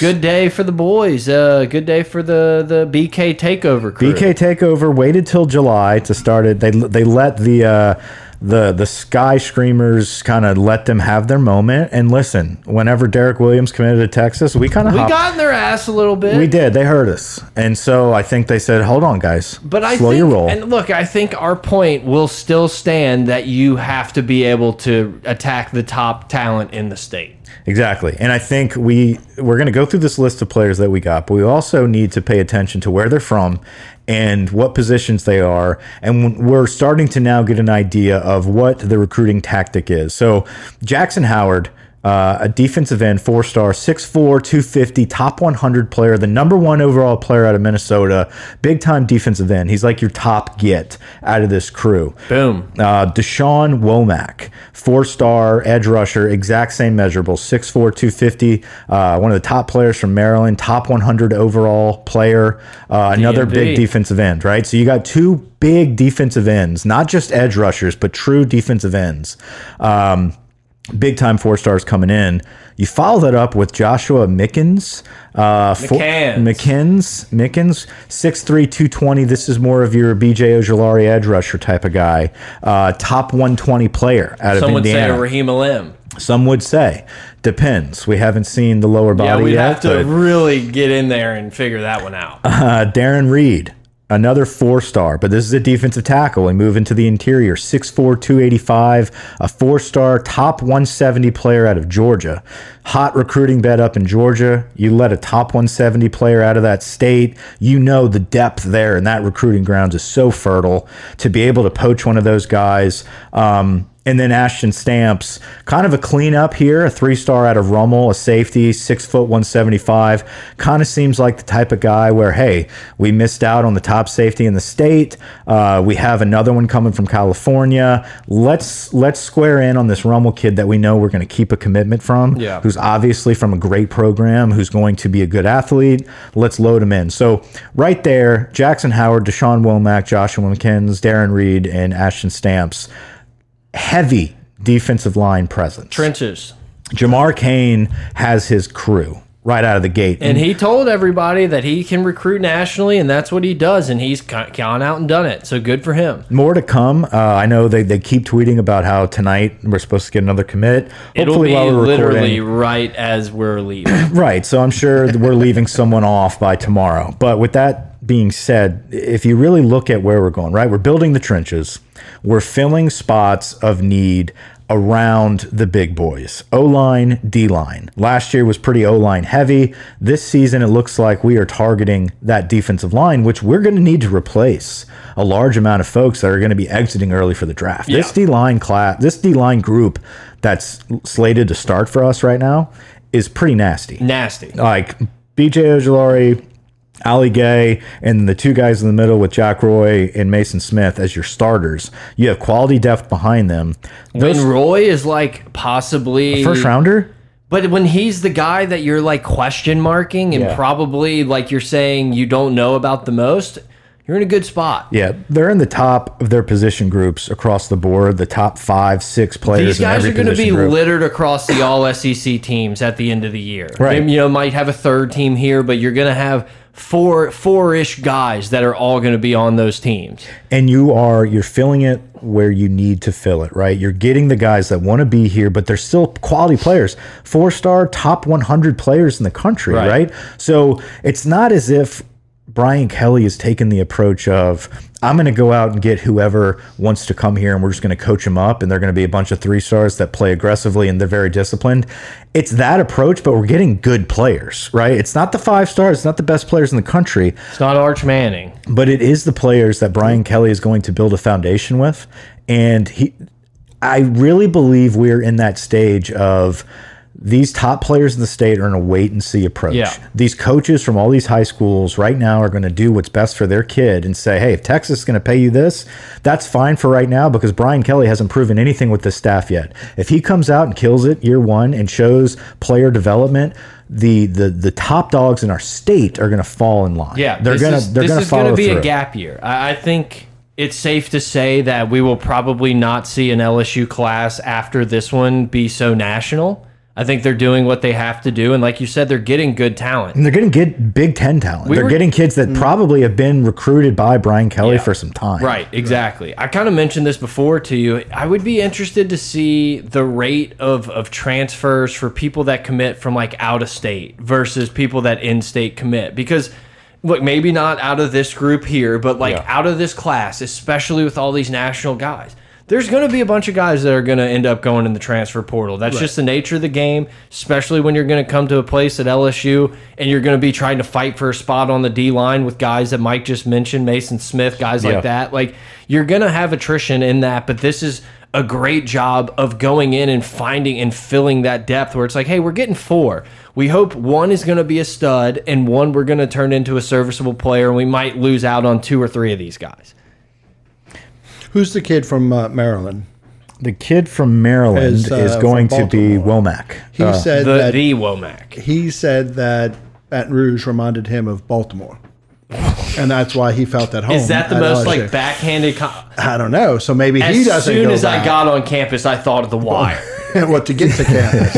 A: good day for the boys. Uh, good day for the the BK takeover crew.
B: BK Takeover waited till July to start it. They they let the uh, the the Sky Screamers kind of let them have their moment. And listen, whenever Derek Williams committed to Texas, we kind of
A: we got in their ass a little bit.
B: we did. They heard us, and so I think they said, "Hold on, guys,
A: But I
B: slow
A: think,
B: your roll."
A: and look, I think our point will still stand that you have to be able to attack the top talent in the state.
B: Exactly. And I think we we're going to go through this list of players that we got, but we also need to pay attention to where they're from and what positions they are. And we're starting to now get an idea of what the recruiting tactic is. So, Jackson Howard uh, a defensive end, four star, 6'4, 250, top 100 player, the number one overall player out of Minnesota, big time defensive end. He's like your top get out of this crew.
A: Boom.
B: Uh, Deshaun Womack, four star edge rusher, exact same measurable, 6'4, 250. Uh, one of the top players from Maryland, top 100 overall player, uh, another
A: DMV.
B: big defensive end, right? So you got two big defensive ends, not just edge rushers, but true defensive ends. Um, big time four stars coming in. You follow that up with Joshua Mickens. Uh, four-
A: McCanns.
B: Mickens. Mickens. 6'3, 220. This is more of your BJ Ojolari edge rusher type of guy. Uh, top 120 player out of
A: Some would say
B: Indiana.
A: a Raheem Alim.
B: Some would say. Depends. We haven't seen the lower body
A: Yeah, we'd
B: yet.
A: have to
B: but-
A: really get in there and figure that one out.
B: uh, Darren Reed, another four star, but this is a defensive tackle. We move into the interior 6'4, 285, a four star, top 170 player out of Georgia. Hot recruiting bed up in Georgia. You let a top 170 player out of that state. You know the depth there, and that recruiting grounds is so fertile to be able to poach one of those guys. Um, and then Ashton Stamps, kind of a cleanup here, a three star out of Rummel, a safety, six foot 175. Kind of seems like the type of guy where, hey, we missed out on the top safety in the state. Uh, we have another one coming from California. Let's let's square in on this Rummel kid that we know we're going to keep a commitment from,
A: Yeah.
B: who's obviously from a great program, who's going to be a good athlete. Let's load him in. So right there, Jackson Howard, Deshaun Womack, Joshua McKins, Darren Reed, and Ashton Stamps heavy defensive line presence.
A: Trenches.
B: Jamar Kane has his crew right out of the gate.
A: And he told everybody that he can recruit nationally, and that's what he does, and he's co- gone out and done it. So good for him.
B: more to come. Uh, I know they, they keep tweeting about how tonight we're supposed to get another commit.
A: It'll be
B: Hopefully, while we're
A: literally
B: recording.
A: right as we're leaving.
B: Right. So I'm sure that we're leaving someone off by tomorrow. But with that being said, if you really look at where we're going, right, we're building the trenches, we're filling spots of need around the big boys O line, D line. Last year was pretty O line heavy. This season, it looks like we are targeting that defensive line, which we're going to need to replace a large amount of folks that are going to be exiting early for the draft. This D line class, this D line group that's slated to start for us right now is pretty nasty
A: Nasty.
B: like BJ Ojolari, Ali Gay, and the two guys in the middle with Jack Roy and Mason Smith as your starters. You have quality depth behind them.
A: When Roy is like possibly
B: First rounder?
A: But when he's the guy that you're like question marking and
B: Yeah.
A: probably like you're saying you don't know about the most, you're in a good spot.
B: Yeah, they're in the top of their position groups across the board. The top five, six players.
A: These guys are
B: in every
A: going to be
B: position group.
A: littered across the all SEC teams at the end of the year.
B: Right.
A: They, you know, might have a third team here, but you're going to have four four ish guys that are all going to be on those teams.
B: and you are you're filling it where you need to fill it right you're getting the guys that want to be here but they're still quality players four star top 100 players in the country
A: Right.
B: right, so it's not as if brian kelly is taking the approach of i'm going to go out and get whoever wants to come here and we're just going to coach them up and they're going to be a bunch of three stars that play aggressively and they're very disciplined it's that approach but we're getting good players right it's not the five stars it's not the best players in the country
A: It's not Arch Manning.
B: but it is the players that Brian Kelly is going to build a foundation with, and he, I really believe we're in that stage of these top players in the state are in a wait and see approach.
A: Yeah.
B: These coaches from all these high schools right now are going to do what's best for their kid and say, "Hey, if Texas is going to pay you this, that's fine for right now because Brian Kelly hasn't proven anything with this staff yet. If he comes out and kills it year 1 and shows player development, the the the top dogs in our state are going to fall in line.
A: Yeah,
B: they're
A: this
B: gonna
A: is-
B: they're
A: this
B: gonna
A: is gonna
B: follow
A: be
B: through.
A: a gap year. I, I think it's safe to say that we will probably not see an LSU class after this one be so national. I think they're doing what they have to do, and like you said, they're getting good talent.
B: And they're getting good Big Ten talent. they're
A: were- Mm.
B: getting kids that probably have been recruited by Brian Kelly for some time.
A: Right, exactly. I kind of mentioned this before to you. I would be interested to see the rate of of transfers for people that commit from like out of state versus people that in state commit because look, maybe not out of this group here, but like out of this class, especially with all these national guys. There's going to be a bunch of guys that are going to end up going in the transfer portal. That's just the nature of the game, especially when you're going to come to a place at LSU and you're going to be trying to fight for a spot on the D line with guys that Mike just mentioned, Mason Smith, guys like
B: Yeah.
A: that that. Like you're gonna have attrition in that, but this is a great job of going in and finding and filling that depth where it's like, hey, we're getting four. We hope one is gonna be a stud and one we're gonna turn into a serviceable player and we might lose out on two or three of these guys.
C: Who's the kid from uh, Maryland?
B: The kid from Maryland
C: Is,
B: is,
C: uh, from
B: going to be
C: Baltimore.
B: Womack.
C: He
B: Uh,
C: said
A: The
C: that
A: the Womack.
C: he said that Baton Rouge reminded him of Baltimore, and that's why he felt at home.
A: Is that the
C: at
A: most
C: LSU.
A: like backhanded? co-
C: I don't know. So maybe he
A: As
C: doesn't.
A: soon
C: go
A: as I
C: back.
A: got on campus, I thought of the wire.
C: what to get to campus.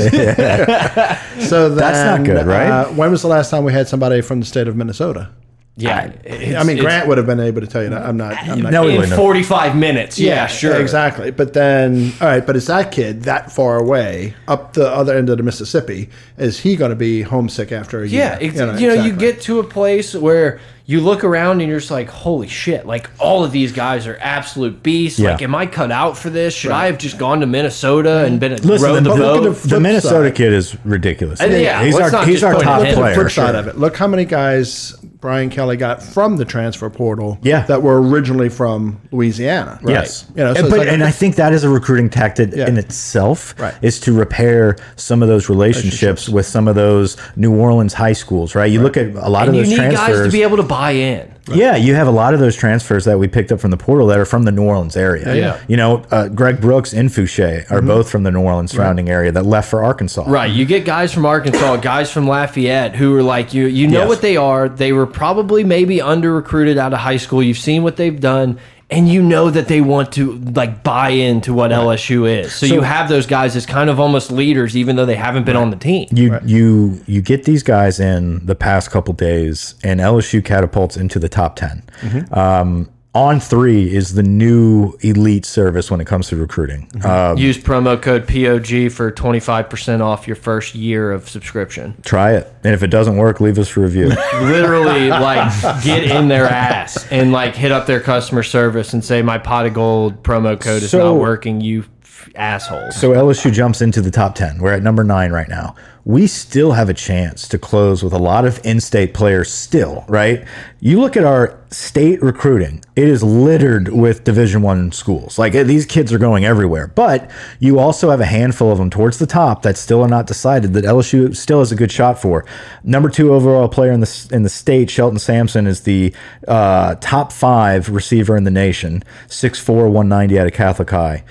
C: so then,
B: That's not good, right?
C: Uh, when was the last time we had somebody from the state of Minnesota?
A: Yeah,
C: I mean, Grant would have been able to tell you that. I'm not. I'm not
B: No, he
A: in
B: wouldn't have.
A: 45 minutes. Yeah, sure,
C: exactly. But then, all right. But is that kid that far away up the other end of the Mississippi? Is he going to be homesick after a
A: Yeah,
C: year?
A: ex- you know, you, get to a place where you look around and you're just like, holy shit, like all of these guys are absolute beasts.
B: Yeah.
A: Like, am I cut out for this? Should I have just gone to Minnesota and been a
B: Listen,
A: rowed
B: the,
A: the
B: the-
A: boat?
B: the
C: flip
B: Minnesota
C: side.
B: kid is ridiculous.
A: And yeah,
B: he's
A: let's
B: our,
A: not
B: he's
A: just
B: our
A: point
B: top
A: at him.
C: Look at the
B: player.
C: flip side of it. Look how many guys Brian Kelly got from the transfer portal
B: Yeah.
C: that were originally from Louisiana.
B: Yes.
C: You know, so
B: and,
C: it's
B: but,
C: like-
B: and I think that is a recruiting tactic in itself
C: Right.
B: is to repair some of those relationships, with some of those New Orleans high schools, right? You look at a lot
A: and
B: of
A: you
B: those
A: need
B: transfers.
A: guys to be able to buy in.
B: Yeah, you have a lot of those transfers that we picked up from the portal that are from the New Orleans area.
A: Yeah. Mm-hmm.
B: You know, uh, Greg Brooks and Fouché are both from the New Orleans surrounding area that left for Arkansas.
A: Right. You get guys from Arkansas, guys from Lafayette who are like you you know
B: Yes.
A: what they are. They were probably maybe under recruited out of high school. You've seen what they've done. And you know that they want to like buy into what LSU is, so, you have those guys as kind of almost leaders, even though they haven't been on the team.
B: You you you get these guys in the past couple days, and LSU catapults into the top 10
A: Mm-hmm.
B: Um, on three is the new elite service when it comes to recruiting.
A: Mm-hmm.
B: Uh,
A: Use promo code POG for 25% off your first year of subscription.
B: try it, and if it doesn't work, leave us a review.
A: Literally, like, get in their ass and, like, hit up their customer service and say, my pot of gold promo code is
B: So-
A: not working, you f- assholes.
B: So LSU jumps into the top 10. We're at number nine right now. We still have a chance to close with a lot of in state players, still, right? You look at our state recruiting, it is littered with Division One schools. Like eh, these kids are going everywhere. But you also have a handful of them towards the top that still are not decided that LSU still has a good shot for. Number two overall player in the, s- in the state, Shelton Sampson, is the uh, top five receiver in the nation, 6'4, 190 out of Catholic High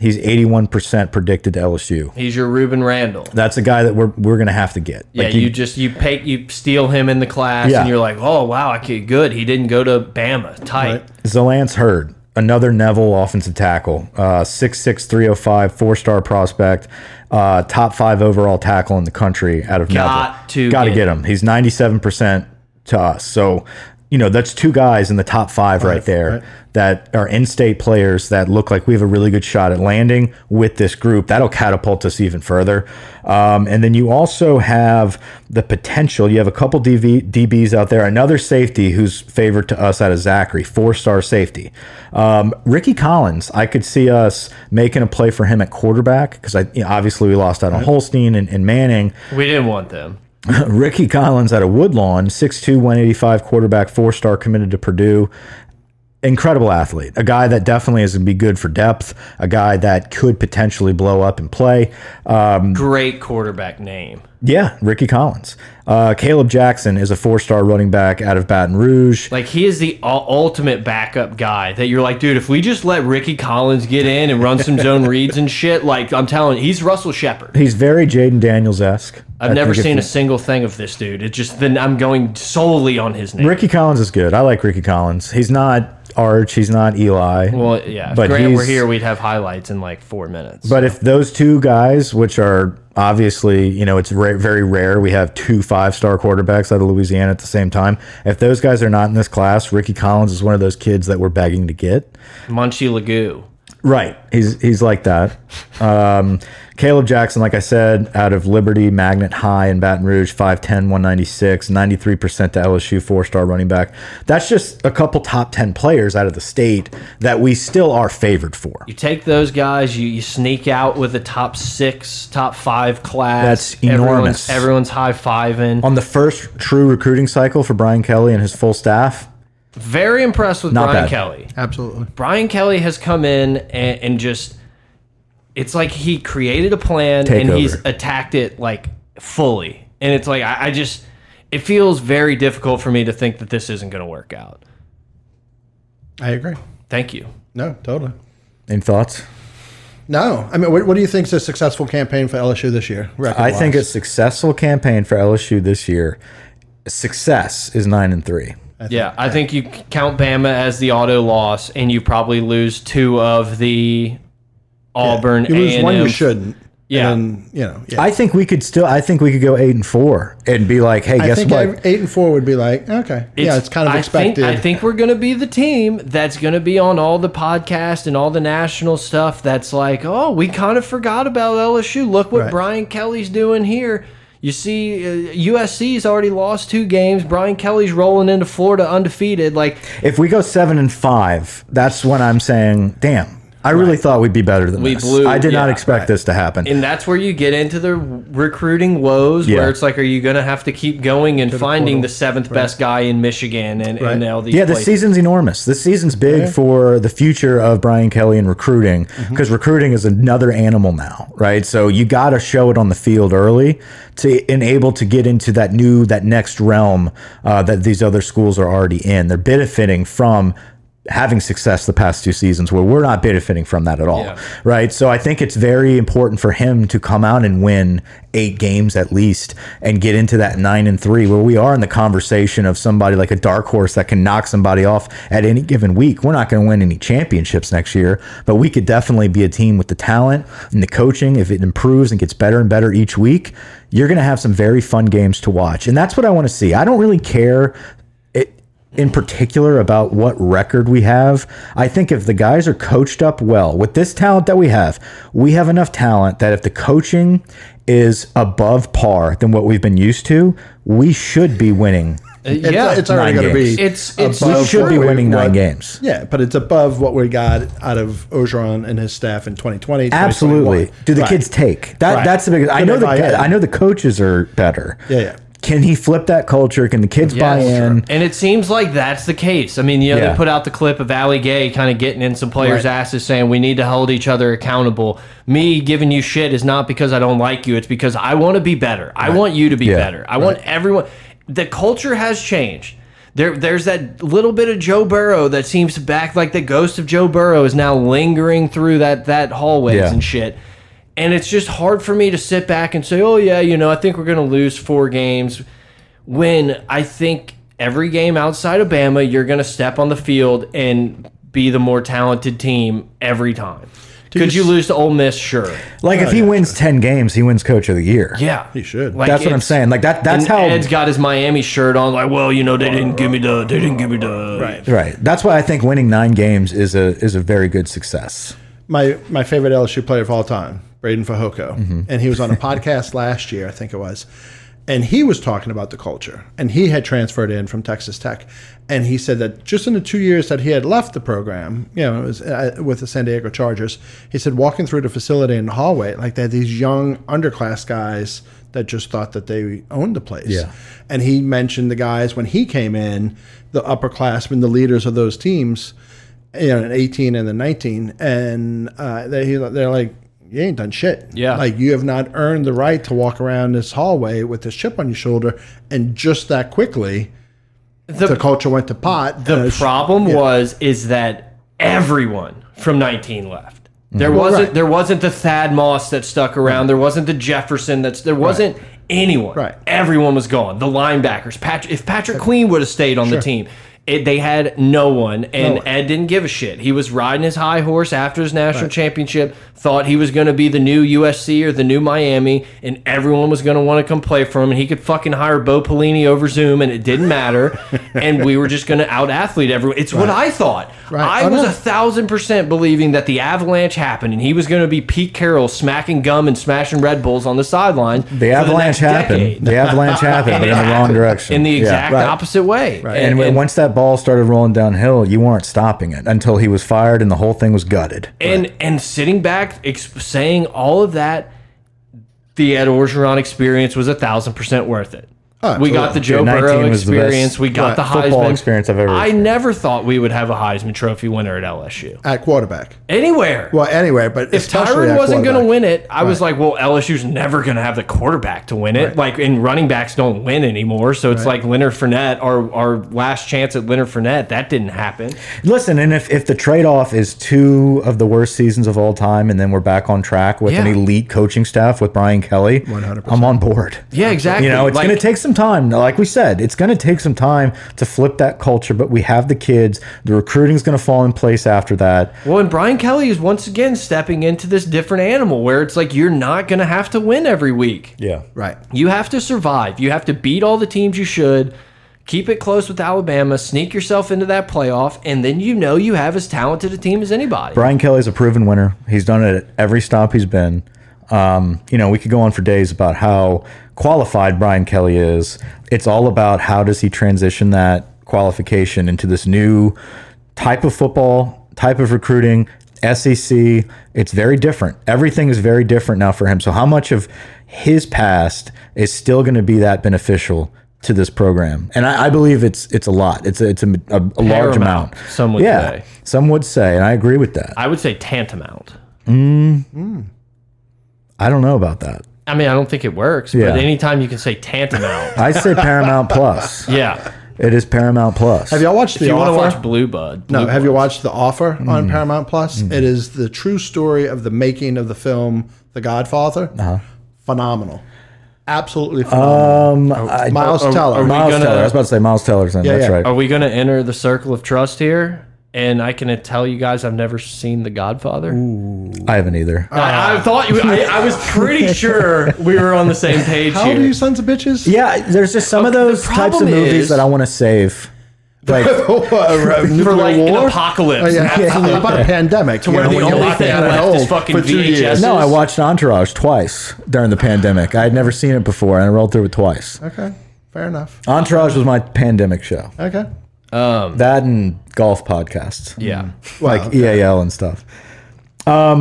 B: He's 81% predicted to LSU.
A: He's your Reuben Randall.
B: That's a guy that we're we're gonna have to get.
A: Yeah,
B: Like,
A: you, just you pay you steal him in the class,
B: Yeah.
A: and you're like, oh wow, I could good. He didn't go to Bama, tight.
B: Zalance Hurd, another Neville offensive tackle, uh, 6'6", 305, four star prospect, uh, top five overall tackle in the country out of
A: Got
B: Neville.
A: to
B: Got to
A: get
B: get him. He's ninety seven percent to us. So. You know, that's two guys in the top five right, there that are in state players that look like we have a really good shot at landing with this group. That'll catapult us even further. Um, and then you also have the potential. You have a couple DV, DBs out there, another safety who's favored to us out of Zachary, four star safety. Um, Ricky Collins, I could see us making a play for him at quarterback because I you know, obviously we lost out on Holstein and, and Manning.
A: We didn't want them.
B: Ricky Collins out of Woodlawn, 6'2, 185 quarterback, four star committed to Purdue. Incredible athlete, a guy that definitely is going to be good for depth, a guy that could potentially blow up and play. Uh,
A: Great quarterback name.
B: Yeah, Ricky Collins. Uh, Caleb Jackson is a four star running back out of Baton Rouge.
A: Like he is the u- ultimate backup guy that you're like, dude, if we just let Ricky Collins get in and run some zone reads and shit, like I'm telling you, he's Russell Shepard.
B: He's very Jaden Daniels esque.
A: I've never seen a single thing of this dude. It's just then I'm going solely on his name.
B: Ricky Collins is good. I like Ricky Collins. He's not Arch, he's not Eli.
A: well, yeah. If
B: But
A: Grant were
B: he's-
A: here, we'd have highlights in like four minutes.
B: But if those two guys, which are obviously, you know, it's ra very rare we have two five star quarterbacks out of Louisiana at the same time. If those guys are not in this class, Ricky Collins is one of those kids that we're begging to get.
A: Munchie Lagoo.
B: Right. He's he's like that. Um, Caleb Jackson, like I said, out of Liberty Magnet High in Baton Rouge, 5'10, 196, 93% to LSU, four star running back. That's just a couple top 10 players out of the state that we still are favored for.
A: You take those guys, you, you sneak out with the top six, top five class.
B: That's
A: Everyone's,
B: enormous.
A: everyone's high fiving.
B: On the first true recruiting cycle for Brian Kelly and his full staff,
A: Very impressed with
B: Not
A: Brian
B: bad.
A: Kelly.
C: Absolutely.
A: Brian Kelly has come in and, and just it's like he created a plan
B: Take
A: and he's
B: over.
A: attacked it like fully. And it's like I, I just it feels very difficult for me to think that this isn't gonna work out.
C: I agree.
A: Thank you.
C: No, totally.
B: any thoughts?
C: No, I mean, what, what do you think is a successful campaign for LSU this year?
B: I think a
C: record-wise?
B: successful campaign for LSU this year. Success is nine and three.
A: yeah, I think you c- count Bama as the auto loss, and you probably lose two of the Auburn.
C: you lose one you
A: A&M.
C: shouldn't.
A: Yeah.
C: and, you know. Yeah.
B: I think we could still. I think we could go eight and four and be like, hey,
C: I
B: guess
C: think
B: what?
C: ev- eight and four would be like okay. yeah, it's kind of expected.
A: I think, I think we're going to be the team that's going to be on all the podcast and all the national stuff. That's like, oh, we kind of forgot about LSU. Look what
C: Right.
A: Brian Kelly's doing here. You see, uh, USC's already lost two games. Brian Kelly's rolling into Florida undefeated. Like,
B: if we go seven and five, that's when I'm saying, damn, I really thought we'd be better than
A: We
B: this.
A: blew-
B: I did not
A: yeah,
B: expect this to happen.
A: and that's where you get into the recruiting woes,
B: Yeah.
A: where it's like, are you going to have to keep going and finding the seventh best guy in Michigan and, and
C: Right.
A: all these?
B: yeah, this
A: places?
B: season's enormous. This season's big for the future of Brian Kelly and recruiting because recruiting is another animal now, right? So you got to show it on the field early to enable to get into that new, that next realm uh, that these other schools are already in. They're benefiting from having success the past two seasons where we're not benefiting from that at all, right? So I think it's very important for him to come out and win eight games at least and get into that nine and three where we are in the conversation of somebody like a dark horse that can knock somebody off at any given week. We're not going to win any championships next year, but we could definitely be a team with the talent and the coaching. If it improves and gets better and better each week, you're going to have some very fun games to watch. And that's what I want to see. I don't really care it in particular about what record we have. I think if the guys are coached up well with this talent that we have, we have enough talent that if the coaching is above par than what we've been used to, we should be winning.
C: it's,
A: Uh, yeah,
C: it's already
B: nine
C: going to
B: games.
C: be.
A: It's- it's-
C: above
B: We should be
C: what we-
B: winning nine
C: what-
B: games.
C: Yeah, but it's above what we got out of Ogeron and his staff in 2020.
B: Absolutely.
C: 2021.
B: Do the
C: Right.
B: kids take that?
C: Right.
B: That's the biggest. I
C: Do
B: know
C: they
B: the
C: buy in?
B: I know the coaches are better.
C: Yeah, yeah.
B: Can he flip that culture? Can the kids buy
A: Yes.
B: in?
A: And it seems like that's the case. I mean, you know,
B: Yeah.
A: they put out the clip of Allie Gay kind of getting in some players'
C: Right.
A: asses saying, we need to hold each other accountable. Me giving you shit is not because I don't like you. It's because I want to be better. I want you to be
B: Yeah.
A: better. I want everyone. The culture has changed. There, there's that little bit of Joe Burrow that seems to back like the ghost of Joe Burrow is now lingering through that that hallways
B: Yeah.
A: and shit. And it's just hard for me to sit back and say, "Oh yeah, you know, I think we're going to lose four games." When I think every game outside of Bama, you're going to step on the field and be the more talented team every time. Could you lose to Ole Miss? Sure.
B: Like if he wins ten games, he wins coach of the year.
A: Yeah,
C: He should.
A: Like,
B: that's what I'm
A: it's-
B: saying. Like that. That's
A: and
B: how.
A: Ed's got his Miami shirt on. Like, well, you know, they didn't give me the, they didn't give me the.
C: Right.
B: right. That's why I think winning nine games is a is a very good success.
C: my my favorite LSU player of all time, Braden Fajoko, and he was on a podcast last year, I think it was, and he was talking about the culture, and he had transferred in from Texas Tech, and he said that just in the two years that he had left the program, you know, it was uh, with the San Diego Chargers, he said walking through the facility in the hallway, like they had these young underclass guys that just thought that they owned the place.
B: Yeah.
C: And he mentioned the guys when he came in, the upperclassmen, the leaders of those teams, you know, an 18 and a 19, and uh, they, they're like, you ain't done shit.
A: Yeah.
C: Like, you have not earned the right to walk around this hallway with this chip on your shoulder. And just that quickly, the, culture went to pot.
A: The
C: and it's-
A: problem
C: yeah.
A: was is that everyone from 19 left. There wasn't
C: Mm-hmm. right.
A: there wasn't the Thad Moss that stuck around. There wasn't the Jefferson that's there wasn't anyone.
C: Right.
A: Everyone was gone. The linebackers. Patrick if Patrick Queen would have stayed on the team, it, they had no one and
C: one.
A: Ed didn't give a shit. He was riding his high horse after his national championship, thought he was going to be the new USC or the new Miami and everyone was going to want to come play for him and he could fucking hire Bo Pelini over Zoom and it didn't matter and we were just going to out athlete everyone. It's what I thought.
C: Right. Oh,
A: I
C: I
A: was
C: know.
A: a thousand percent believing that the avalanche happened and he was going to be Pete Carroll smacking gum and smashing Red Bulls on the sideline. for
B: The
A: next
B: avalanche
A: decade.
B: happened. The avalanche happened, but in the wrong direction.
A: in the
B: Yeah.
A: exact
B: Right.
A: opposite way.
B: And, when once that ball started rolling downhill, you weren't stopping it until he was fired and the whole thing was gutted.
A: and and sitting back exp- saying all of that the ed orgeron experience was a thousand percent worth it we got the joe
B: Yeah, 19
A: burrow
B: was the best
A: experience we got the
B: football
A: heisman
B: experience I've ever
A: i
B: experienced.
A: never thought we would have a heisman trophy winner at lsu
C: At quarterback.
A: anywhere
C: Well, anyway, but
A: if
C: especially
A: Tyron
C: at
A: wasn't going to
C: quarterback.
A: win it, I was like, well, LSU's never going to have the quarterback to win it. Like, and running backs don't win anymore. So it's like Leonard Fournette, our, our last chance at Leonard Fournette. That didn't happen.
B: Listen, and if, if the trade off is two of the worst seasons of all time, and then we're back on track with an
A: Yeah.
B: elite coaching staff with Brian Kelly, 100%. I'm on board.
A: Yeah, exactly.
B: You know, it's
A: Like-
B: going to take some time. Like we said, it's going to take some time to flip that culture, but we have the kids. The recruiting's going to fall in place after that.
A: Well, and Brian Kelly is once again stepping into this different animal where it's like you're not going to have to win every week.
B: Yeah.
C: Right.
A: You have to survive. You have to beat all the teams you should, keep it close with Alabama, sneak yourself into that playoff, and then you know you have as talented a team as anybody.
B: Brian Kelly's a proven winner. He's done it at every stop he's been. Um, you know, we could go on for days about how qualified Brian Kelly is. It's all about how does he transition that qualification into this new type of football, type of recruiting, SEC. It's very different. Everything is very different now for him. So how much of his past is still going to be that beneficial to this program? And I, I believe it's it's a lot. It's a, it's a, a, a large
A: Paramount,
B: amount.
A: some would
B: yeah,
A: say.
B: some would say, and I agree with that.
A: I would say tantamount.
B: I don't know about that.
A: I mean, I don't think it works,
B: Yeah.
A: but anytime you can say tantamount,
B: I say Paramount Plus.
A: yeah.
B: It is Paramount Plus.
C: Have y'all watched
A: If
C: The
A: you want
C: Offer?
A: to watch Blue Bud,
C: No,
A: Blue
C: have you watched The Offer on Paramount Plus? It is the true story of the making of the film The Godfather. Phenomenal. Absolutely phenomenal.
B: um, I-
C: Miles Teller.
A: are we
B: Miles
A: gonna-
B: Teller. I was about to say Miles Teller's in. That's
C: yeah.
B: right.
A: Are we going to enter the circle of trust here? And I can tell you guys, I've never seen The Godfather.
B: I haven't either.
A: I, I
B: Uh,
A: thought you. I, I was pretty sure we were on the same page
C: How
A: here.
C: old are you sons of bitches?
B: yeah, there's just some of
A: Okay, the
B: those types of
A: problem
B: movies
A: is-
B: that I want to save. Like,
A: for
C: For
A: like an
B: Oh,
A: apocalypse?
C: Oh, yeah, absolutely. About a pandemic. To
A: where the only thing left is fucking VHS.
B: no, I watched Entourage twice during the pandemic. I had never seen it before, and I rolled through it twice.
C: Okay, fair enough.
B: Entourage was my pandemic show.
C: Okay.
B: That and golf podcasts.
A: Yeah.
B: like EAL and stuff. Um,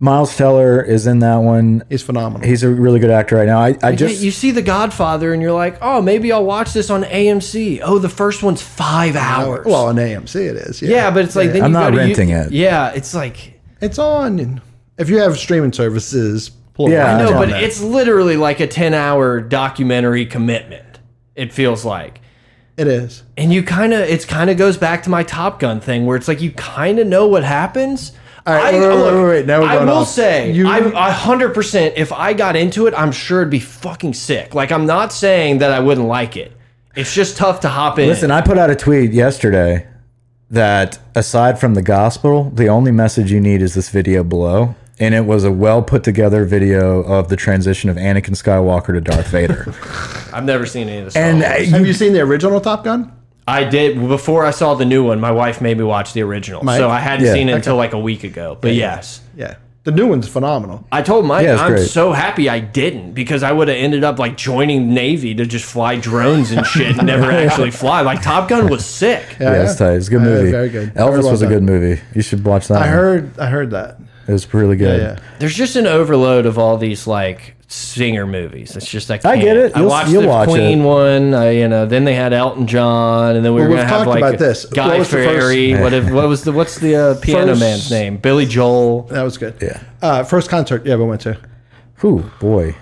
B: Miles Teller is in that one.
C: He's phenomenal.
B: He's a really good actor right now. I, I
A: Yeah,
B: just
A: you see The Godfather, and you're like, oh, maybe I'll watch this on AMC. Oh, the first one's five hours.
C: well, on AMC it is. Yeah,
A: yeah, but it's like then
B: Uh, I'm
A: you
B: not
A: go to
B: renting
A: you,
B: it.
A: Yeah, it's like
C: it's on. If you have streaming services, plural,
B: Yeah, I
A: no,
B: know,
A: but
C: it's.
A: it's literally like a ten hour documentary commitment. It feels like.
C: It is.
A: and you kind of it's kind of goes back to my Top Gun thing where it's like you kind of know what happens.
C: All right, wait, wait, wait, wait, now we're
A: I
C: going
A: will
C: off.
A: say,
C: You-
A: I'm a hundred percent. If I got into it, I'm sure it'd be fucking sick. Like I'm not saying that I wouldn't like it. It's just tough to hop in.
B: Listen, I put out a tweet yesterday that aside from the gospel, the only message you need is this video below. And it was a well put together video of the transition of Anakin Skywalker to Darth Vader.
A: I've never seen any of this.
B: and uh, you
C: Have you seen the original Top Gun?
A: I did before I saw the new one. My wife made me watch the original,
C: Mike?
A: so I hadn't
B: Yeah.
A: seen it until like a week ago. But yes,
C: Yeah. The new one's phenomenal.
A: I told Mike
B: Yeah, it's
A: I'm
B: great.
A: so happy I didn't because I would have ended up like joining Navy to just fly drones and shit and never actually fly. Like Top Gun was sick.
B: Yeah, it's tight. It's a good
C: Yeah,
B: movie.
C: very good.
B: Elvis
C: Very well
B: was a
C: done.
B: good movie. You should watch that.
C: I
B: one.
C: heard. I heard that.
B: it was really good.
C: Yeah,
A: There's just an overload of all these like singer movies. It's just like
B: I get it.
A: I
B: You'll-
A: watched
B: you'll
A: the
B: watch
A: Queen
B: it.
A: one. I, you know, then they had Elton John, and then we
C: Well,
A: were
C: we've
A: gonna have
C: talked
A: like
C: about this.
A: Guy
C: What was the first-
A: Fieri. What, if, what was the what's the uh, piano
C: First-
A: man's name? Billy Joel.
C: That was good.
B: Yeah.
C: Uh, first concert you ever went to?
B: Whew, boy.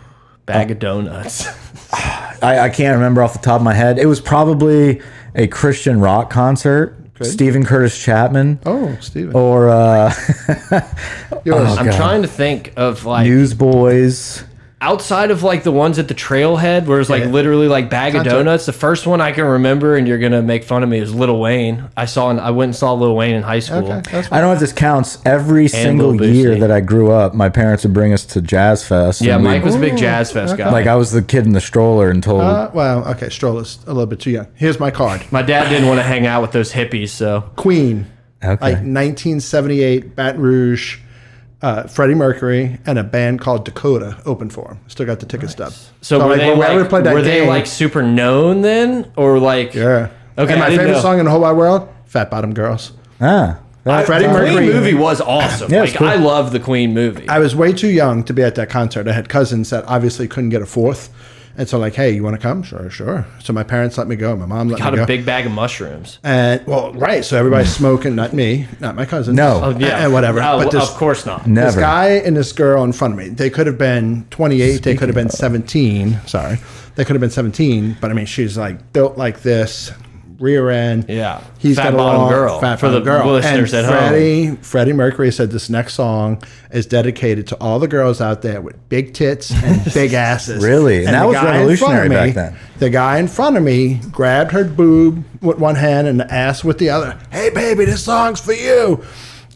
A: Bag of donuts.
B: I, I can't remember off the top of my head. It was probably a Christian rock concert. Stephen Curtis Chapman.
C: Oh, Steven.
B: Or uh, Oh,
C: Yours.
A: I'm trying to think of like
B: Newsboys.
A: outside of like the ones at the trailhead where it's like
C: Yeah.
A: literally like bag of
C: Concert.
A: donuts. The first one I can remember, and you're gonna make fun of me, is Little Wayne. I saw and I went and saw Little Wayne in high school.
C: okay, that's
B: I don't know if this counts. Every single
A: Lil Boosie.
B: year that I grew up, my parents would bring us to Jazz Fest.
A: Yeah,
B: and we-
A: Mike was a big jazz fest guy.
B: like uh, I was the kid in the stroller and told
C: Uh, well, okay. Stroller's a little bit too young. Here's my card.
A: My dad didn't want to hang out with those hippies, so
C: Queen.
B: Okay.
C: Like 1978, Baton Rouge, uh, Freddie Mercury, and a band called Dakota opened for him. Still got the ticket stub.
A: so, were
C: like,
A: they
C: when I
A: like
C: would've played that
A: were they
C: game-
A: like super known then, or like
C: Yeah.
A: Okay,
C: And
A: I
C: my
A: didn't
C: favorite
A: know.
C: song in the whole wide world, Fat Bottom Girls.
B: ah.
A: I-
B: that-
C: Freddie
A: the
C: Mercury-
A: Queen movie was awesome.
B: Yeah, it's
A: like
B: cool.
A: I love the Queen movie.
C: I was way too young to be at that concert. I had cousins that obviously couldn't get a fourth. And so, like, hey, you want to come? Sure, sure. So my parents let me go. My mom let
A: Got
C: me
A: a
C: go.
A: big bag of mushrooms.
C: and well, right. So everybody's smoking, not me, not my cousins.
B: No. Oh,
C: and, and Eh, whatever.
A: Oh,
C: but this,
A: of course not.
B: never.
C: this guy and this girl in front of me, they could have been 28, they could have been 17. Sorry. They could have been 17, but I mean, she's like built like this, rear end.
A: Yeah.
C: he's
A: Fat
C: got a
A: bottom
C: long,
A: girl.
C: Fat
A: For
C: bottom
A: the
C: girl.
A: listeners
C: and
A: at home.
C: Freddie, Freddie Mercury said this next song is dedicated to all the girls out there with big tits and big asses.
B: Really? And that
C: the
B: was
C: guy in front of
B: revolutionary back
C: me-
B: then.
C: The guy in front of me grabbed her boob with one hand and the ass with the other. Hey, baby, this song's for you.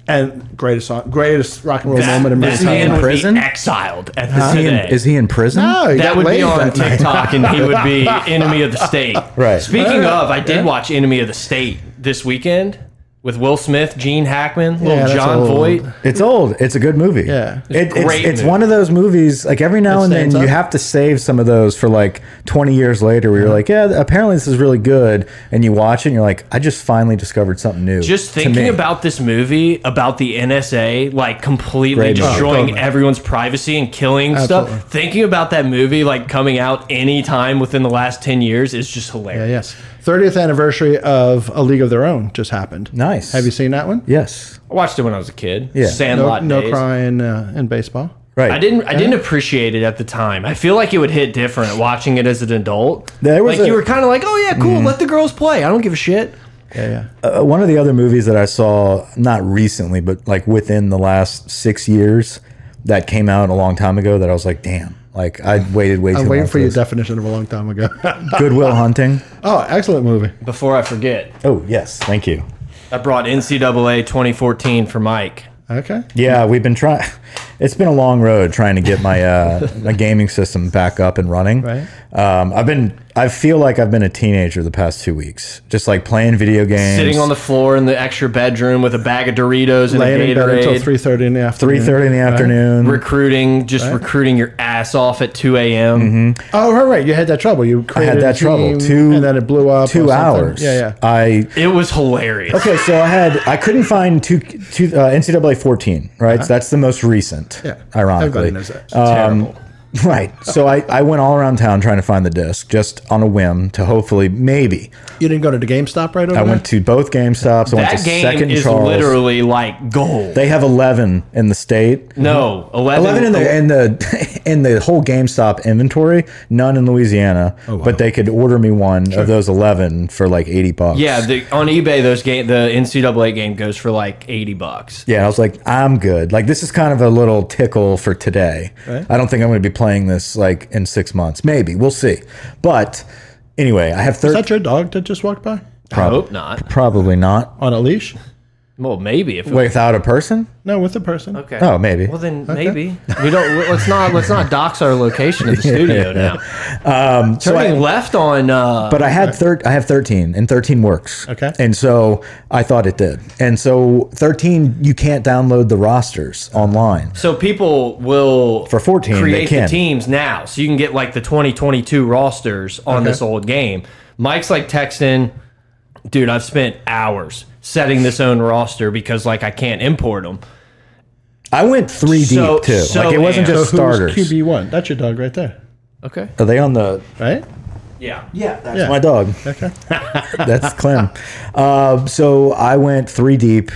C: And greatest song, greatest rock and roll moment in my
A: That man would
B: in
C: time.
A: be
B: prison?
A: exiled at
B: Is
A: the
B: he, in,
A: today.
B: is he in prison?
C: No, he
A: that
C: got
A: would be
C: laid
A: on
C: that night.
A: TikTok, and he would be enemy of the state.
B: Right.
A: Speaking of, I did watch Enemy of the State this weekend with Will Smith, Gene Hackman,
C: Yeah,
A: little
C: that's
A: John
C: old.
A: Voight.
B: It's old. It's a good movie.
C: Yeah.
B: It, it's
A: Great
B: it's
A: movie.
B: one of those movies. Like every now and then,
C: stands
B: you
C: up. Uh-huh.
B: have to save some of those for like 20 years later, where you're like, yeah, apparently this is really good, and you watch it, and you're like, I just finally discovered something new.
A: Just
B: to
A: thinking
B: me.
A: about this movie about the NSA, like completely
B: Great movie.
A: destroying
C: Oh,
A: everyone's privacy and killing
C: Absolutely.
A: stuff. Thinking about that movie, like coming out any time within the last ten years, is just
C: Yeah,
A: hilarious.
C: yes. 30th anniversary of A League of Their Own just happened.
B: Nice.
C: Have you seen that one?
B: Yes.
A: I watched it when I was a kid.
B: Yeah.
C: No,
A: Sandlot
C: no
A: days.
C: crying uh, in baseball.
B: Right.
A: I didn't. I didn't appreciate it at the time. I feel like it would hit different watching it as an adult.
B: There
A: like
B: was
A: you
B: a- Mm-hmm.
A: were kind of like, oh yeah, cool. Let the girls play. I don't give a shit.
C: Yeah, yeah.
B: Uh, one of the other movies that I saw, not recently, but like within the last six years, that came out a long time ago. That I was like, damn, like I waited way too
C: I'm
B: long.
C: waiting for
B: for
C: your
B: this.
C: definition of a long time ago.
B: Goodwill Hunting.
C: oh, excellent movie.
A: Before I forget,
B: Oh yes, thank you.
A: I brought NCAA 2014 for Mike.
C: Okay.
B: Yeah, we've been trying. It's been a long road trying to get my uh, my gaming system back up and running.
C: Right.
B: Um, I've been. I feel like I've been a teenager the past two weeks, just like playing video games,
A: Sitting on the floor in the extra bedroom with a bag of Doritos and
C: Laying
A: a
C: in bed until
A: Gatorade.
C: three thirty in the afternoon.
B: three thirty in the afternoon.
A: recruiting, just recruiting your ass off at 2 a.m.
B: Mm-hmm.
C: Oh, right, right. You had that trouble. You
B: I
C: created
B: had
C: a
B: that trouble.
C: team,
B: Two
C: and then it blew up. or
B: Two
C: something.
B: hours.
C: Yeah, yeah.
B: I
A: It was hilarious.
B: Okay, so I had I couldn't find two two uh, NCAA fourteen right. So that's the most recent.
C: Yeah.
B: ironically,
C: Everybody knows that.
B: Um,
A: Terrible.
B: Right. So I, I went all around town trying to find the disc, just on a whim to hopefully maybe.
C: You didn't go to the GameStop right over
B: I
C: there?
B: went to both GameStops. I went to
A: That game
B: Second and
A: is
B: Charles.
A: literally like gold.
B: they have eleven in the state. Oh.
A: no, 11,
B: Eleven in the in the in the whole GameStop inventory. None in Louisiana, but they could order me one of those eleven for like eighty bucks.
A: Yeah, the, on eBay those game the NCAA game goes for like eighty bucks.
B: Yeah, I was like, I'm good. Like, this is kind of a little tickle for today. I don't think I'm going to be playing this like in six months. Maybe we'll see. But anyway, I have
C: Is
B: third.
C: that your dog that just walked by
A: I hope not.
B: Probably not
C: on a leash?
A: Well, maybe if it,
B: without a person.
C: No, with a person.
A: okay.
B: Oh, maybe.
A: Well, then maybe we don't. Let's not. Let's not dox our location of the studio now. Um, Turning left on. Uh,
B: But I had thir- I have 13 and 13 works.
C: Okay.
B: And so I thought it did. And so 13 you can't download the rosters online.
A: so people will
B: For 14, they
A: create the
B: can.
A: teams now, so you can get like the 2022 rosters on this old game. Mike's like texting, dude. I've spent hours setting this own roster because like I can't import them.
B: I went 3
A: So-
B: deep too.
A: so
B: like it wasn't
A: am.
B: just
C: So
B: starters.
C: who's QB one? That's your dog right there,
A: Okay.
B: Are they on the
C: right?
A: Yeah.
B: That's my dog.
C: Okay.
B: That's Clem. Uh, so I went 3 deep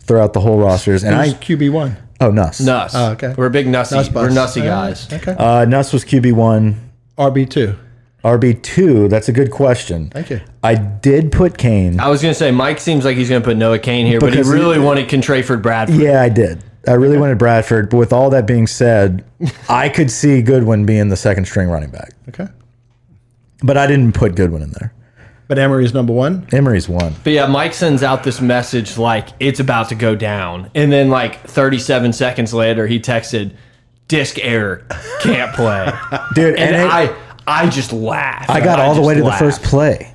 B: throughout the whole rosters and
C: Who's
B: I
C: QB one?
B: oh Nuss.
A: Nuss.
C: Oh, okay.
A: We're big Nussy.
C: Nuss bus.
A: We're Nussy
C: All right.
A: guys.
C: Oh, Okay.
B: Uh, Nuss was QB1,
C: RB two.
B: RB2. That's a good question.
C: Thank you.
B: I did put Kane.
A: I was gonna say Mike seems like he's gonna put Noah Kane here, but
B: Because
A: he
B: he-
A: really wanted Contrayford Bradford.
B: Yeah, I did. I really wanted Bradford, but with all that being said, I could see Goodwin being the second string running back.
C: Okay.
B: But I didn't put Goodwin in there.
C: But Emery's number one.
B: Emery's one.
A: But yeah, Mike sends out this message like it's about to go down, and then like 37 seconds later, he texted, "Disc error, can't play."
B: Dude,
A: and
B: and, it-
A: I, I just laughed.
B: I got all the
A: just
B: way to
A: laughed.
B: the first play.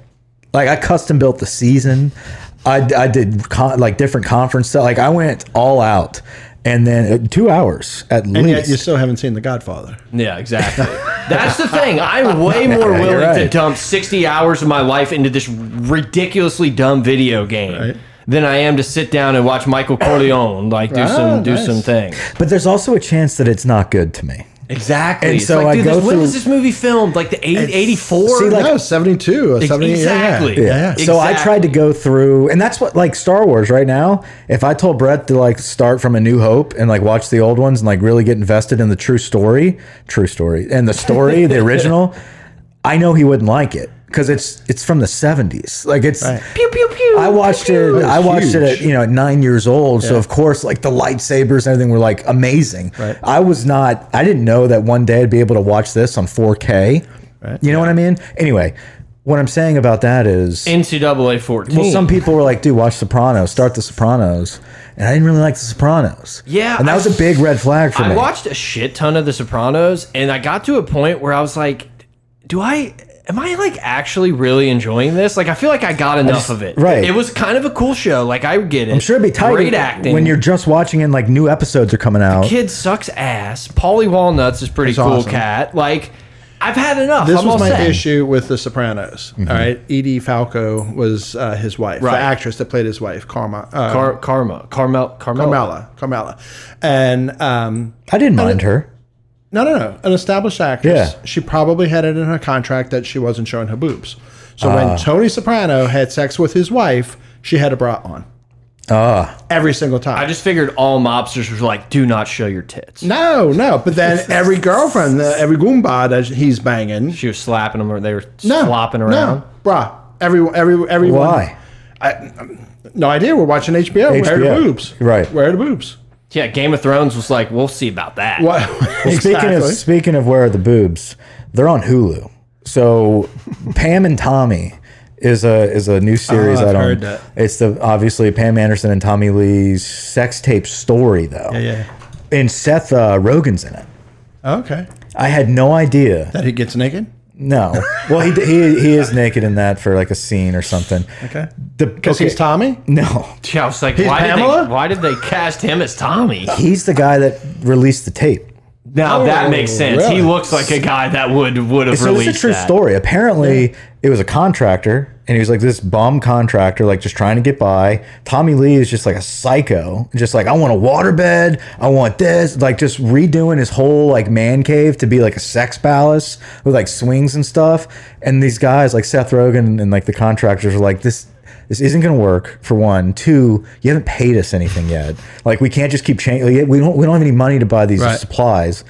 B: Like I custom built the season. I, I did con, like different conference stuff. Like I went all out, and then uh, two hours at
C: And
B: least.
C: yet you still haven't seen The Godfather.
A: Yeah, exactly. That's the thing. I'm way more
B: You're
A: willing to
B: right.
A: dump 60 hours of my life into this ridiculously dumb video game
C: Right.
A: than I am to sit down and watch Michael Corleone like do
B: Ah,
A: some do
C: nice.
A: some things.
B: but there's also a chance that it's not good to me.
A: Exactly.
B: And
A: It's
B: so
A: like,
B: I
A: dude,
B: go
A: this, when
B: through-
A: was this movie filmed? Like the 8, 84?
B: See, like-
C: no, seventy two or
A: Ex-
C: seventy.
A: exactly.
C: Yeah. yeah.
B: So I tried to go through, and that's what like Star Wars right now. If I told Brett to like start from A New Hope and like watch the old ones and like really get invested in the true story, true story, and the story, the original, I know he wouldn't like it because it's it's from the seventies. Like it's.
A: pew pew pew.
B: I watched it. I watched it at
C: huge.
B: you know at nine years old. So of course, like the lightsabers and everything were like amazing.
C: Right.
B: I was not. I didn't know that one day I'd be able to watch this on 4K. Right. You know what I mean? Anyway, what I'm saying about that is
A: NCAA 14.
B: well, some people were like, "Dude, watch Sopranos. Start The Sopranos," and I didn't really like The Sopranos.
A: Yeah,
B: and that
A: I-
B: was a big red flag for
A: I
B: me.
A: watched a shit ton of The Sopranos, and I got to a point where I was like, do I. Am I like actually really enjoying this? Like, I feel like I got enough of it.
B: right.
A: It was kind of a cool show. Like, I get it.
B: I'm sure it'd be tight
A: Great acting.
B: when you're just watching and like new episodes are coming out.
A: kid sucks ass. Polly Walnuts is pretty
C: That's
A: cool
C: awesome.
A: cat. Like, I've had enough.
C: This
A: I'm all
C: was my
A: set.
C: issue with The Sopranos. all right, Edie Falco was uh, his wife,
A: Right.
C: the actress that played his wife, Karma. Uh,
A: Car Karma, Carmel, Carmel,
C: Carmela, Carmela, and um,
B: I didn't mind her.
C: no, no, no, an established actress.
B: Yeah.
C: She probably had it in her contract that she wasn't showing her boobs. So
B: Ah.
C: when Tony Soprano had sex with his wife, she had a bra on. Ah, every single time.
A: I just figured all mobsters was like, do not show your tits.
C: no, no. But then every girlfriend, uh, every goomba that he's banging,
A: She was slapping them, or they were
C: no,
A: flopping around.
C: no, bra. Every, every, everyone.
B: Why?
C: No idea. We're watching HBO. Where are
B: HBO.
C: the boobs?
B: Right.
C: Where are the boobs?
A: Yeah, Game of Thrones was like, we'll see about that.
C: What?
B: Speaking of speaking of where are the boobs, they're on Hulu. So Pam and Tommy is a is a new series.
C: Oh, I've
B: I don't.
C: heard that.
B: It's the obviously Pam Anderson and Tommy Lee's sex tape story though.
C: yeah.
B: And Seth uh, Rogen's in it.
C: Okay.
B: I had no idea.
C: That he gets naked.
B: No. Well, he, he he is naked in that for like a scene or something.
C: Okay.
B: The
C: Because
B: okay,
C: he's Tommy.
B: No,
A: Yeah, I was like,
C: He's
A: why did,
C: Pamela?
A: they, why did they cast him as Tommy?
B: he's the guy that released the tape.
A: Now that makes sense. He
C: really?
A: looks like a guy that would would have
B: So
A: released
B: it's a true
A: that.
B: story. Apparently, it was a contractor, and he was like this bum contractor, like just trying to get by. Tommy Lee is just like a psycho, just like I want a waterbed, I want this, like just redoing his whole like man cave to be like a sex palace with like swings and stuff. And these guys like Seth Rogen and like the contractors are like this. This isn't going to work for one. Two, you haven't paid us anything yet. Like we can't just keep changing. Like, we don't. We don't have any money to buy these
C: Right.
B: supplies.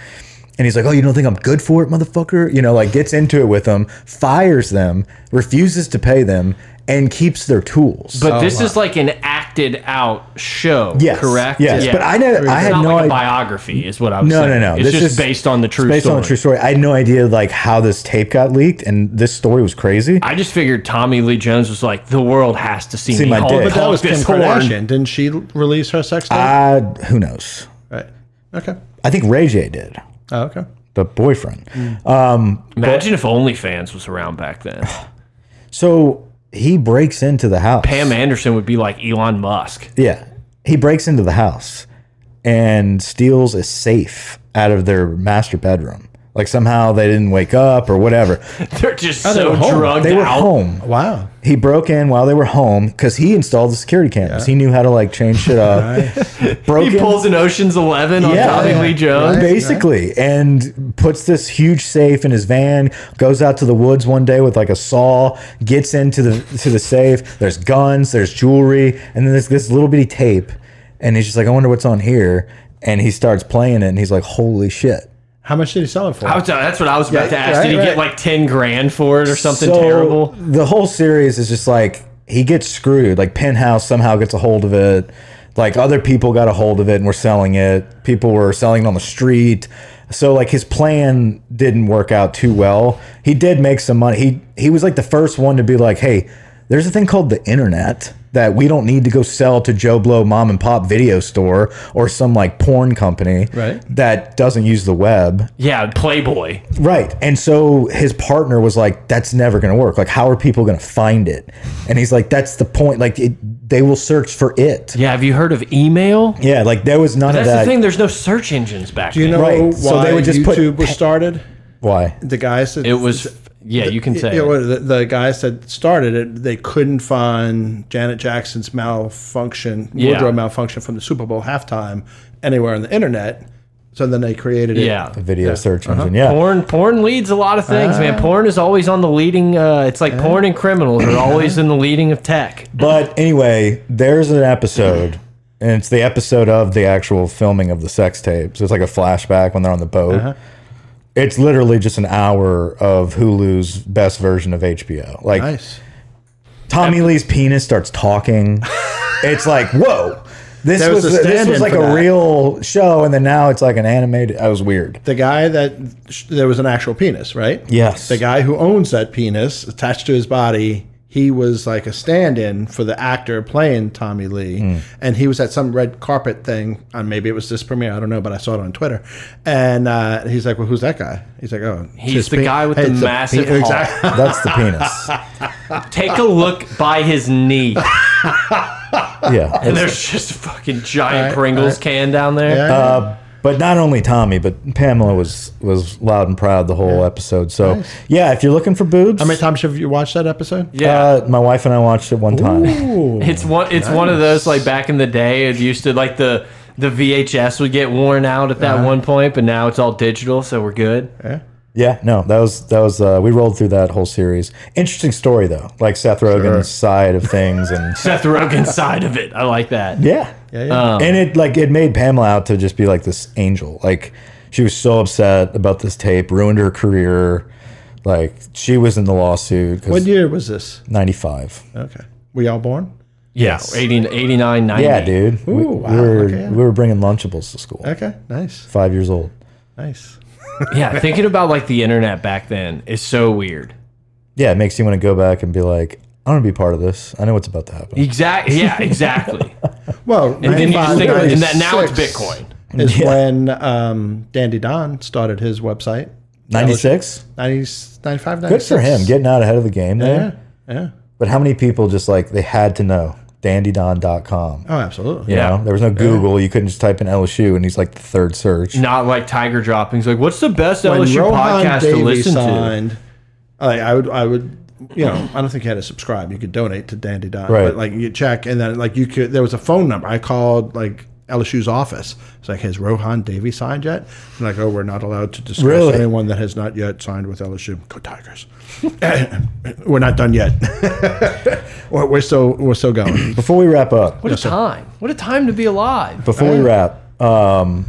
B: And he's like, "Oh, you don't think I'm good for it, motherfucker?" You know, like gets into it with them, fires them, refuses to pay them, and keeps their tools.
A: But this is like an acted out show,
B: Oh Yes,
A: correct?
B: yes, but I know- I
A: It's
B: had
A: not
B: no
A: like a
B: idea-
A: biography is what I was
B: no,
A: saying.
B: no, no.
A: It's
B: This
A: just
B: is-
A: based on the true
B: based
A: story.
B: on a true story. I had no idea like how this tape got leaked, and this story was crazy.
A: I just figured Tommy Lee Jones was like, the world has to see,
B: See
A: me
B: my
A: hold,
B: dick." Oh,
C: But that
A: hold
C: was Kim
A: this horn.
C: Kardashian. Didn't she l- release her sex tape?
B: Uh, who knows?
C: right. Okay.
B: I think Ray J did
C: Oh, okay.
B: the boyfriend.
A: Imagine if OnlyFans was around back then.
B: So he breaks into the house.
A: Pam Anderson would be like Elon Musk.
B: Yeah. He breaks into the house and steals a safe out of their master bedroom. Like somehow they didn't wake up or whatever.
A: They're just
C: they
A: so
C: were home.
A: drugged
B: They were
A: out.
B: home.
C: Wow.
B: He broke in while they were home because he installed the security cameras. He knew how to like change shit up. Broke
A: He
B: in-
A: pulls an Ocean's Eleven on
B: Yeah.
A: Tommy
B: Yeah.
A: Lee Jones.
B: basically and puts this huge safe in his van goes out to the woods one day with like a saw gets into the to the safe there's guns there's jewelry and then there's this little bitty tape and he's just like i wonder what's on here and he starts playing it and he's like holy shit
C: How much did he sell it for?
A: I was, uh, that's what I was about
C: Yeah,
A: to ask.
C: right,
A: Did he get
C: right.
A: like ten grand for it or something
B: So,
A: terrible?
B: the whole series is just like he gets screwed like penthouse somehow gets a hold of it like other people got a hold of it and were selling it people were selling it on the street so like his plan didn't work out too well he did make some money he he was like the first one to be like hey there's a thing called the internet that we don't need to go sell to Joe Blow mom and pop video store or some like porn company
C: Right.
B: that doesn't use the web
A: Yeah, Playboy.
B: Right. And so his partner was like, that's never going to work. Like, how are people going to find it? And he's like, that's the point. Like, it, they will search for it.
A: Yeah, have you heard of email?
B: Yeah. Like, there was none
A: That's
B: of that.
A: the thing. There's no search engines back
C: Do you
A: then.
C: know why
B: Right. So they would just put-
C: YouTube was started?
B: Why?
C: The guys that
A: It was. Yeah, you can say.
C: Yeah,
A: it.
C: well, the, the guys that started it, they couldn't find Janet Jackson's malfunction,
A: Yeah.
C: wardrobe malfunction from the Super Bowl halftime anywhere on the internet. So then they created it.
A: Yeah. Uh-huh.
B: Video search engine. Yeah.
A: Porn, porn leads a lot of things, man. Porn is always on the leading. Uh, it's like porn and criminals are always in the leading of tech.
B: But anyway, there's an episode, and it's the episode of the actual filming of the sex tape. So it's like a flashback when they're on the boat.
A: Uh-huh.
B: It's literally just an hour of Hulu's best version of HBO. Like,
C: Nice.
B: Tommy Lee's penis starts talking. it's like, whoa. This
C: There
B: was,
C: was a
B: this was
C: stand-in
B: like
C: for
B: a
C: that.
B: real show, and then now it's like an animated. That was weird.
C: The guy that there was an actual penis, right?
B: Yes.
C: The guy who owns that penis attached to his body, he was like a stand-in for the actor playing Tommy Lee, and he was at some red carpet thing. On maybe it was this premiere, I don't know, but I saw it on Twitter. And uh, he's like, "Well, who's that guy?" He's like, "Oh, it's
A: He's
C: his
A: the
C: pe-
A: guy with the
C: it's a
A: massive hog.
C: pe- exactly."
B: That's the penis.
A: Take a look by his knee, and
B: Yeah.
A: there's just a fucking giant Pringles can down there.
C: Yeah.
B: Uh, but not only Tommy, but Pamela was was loud and proud the whole episode. So yeah, if you're looking for boobs,
C: How many times have you watched that episode?
A: Yeah.
B: uh, my wife and I watched it one time.
A: It's one. It's one of those like back in the day. It used to like the the VHS would get worn out at that one point, but now it's all digital, so we're good.
B: Uh-huh. Yeah, no, that was that was uh, we rolled through that whole series. Interesting story though, like Seth Rogen's side of things, and
A: Seth Rogen's side of it. I like that.
B: Yeah. Yeah,
A: Um,
B: And it like it made Pamela out to just be like this angel. Like she was so upset about this tape, ruined her career. Like she was in the lawsuit
C: What
B: because
C: year was this?
B: 95.
C: Okay. We all born?
A: Yeah, 80, 89, 90.
B: Yeah, dude. we,
C: Ooh, wow,
B: we were
C: okay, yeah.
B: we were bringing Lunchables to school.
C: Okay. Nice.
B: 5 years old.
C: Nice.
A: Yeah, thinking about like the internet back then is so weird.
B: Yeah, it makes you want to go back and be like I want to be part of this. I know what's about to happen.
A: Exactly. Yeah, exactly.
C: Well,
A: and then you just
C: 95,
A: think about it, and that now it's
C: 96
A: Bitcoin.
C: Is when um, Dandy Don started his website.
B: 96?
C: 90, 95,
B: Good for him getting out ahead of the game there.
C: Yeah. Yeah.
B: But how many people just like they had to know? dandydon.com.
C: Oh, absolutely.
B: You
A: Yeah.
B: know, there was no Google. You couldn't just type in LSU, and he's like the third search.
A: Not like Tiger droppings. Like, what's the best LSU
C: Rohan
A: podcast to
C: Davey
A: listen to?
C: signed, I, I would, I would, you know, I don't think you had to subscribe. You could donate to Dandy Don,
B: Right.
C: But like you check, and then like you could, there was a phone number. I called like LSU's office. It's like, has Rohan Davey signed yet? And like, oh, we're not allowed to discuss
B: Really?
C: anyone that has not yet signed with LSU. Go Tigers! we're not done yet. we're, we're still, we're still going.
B: Before we wrap up,
A: What a time! What a time to be alive.
B: before we wrap, um,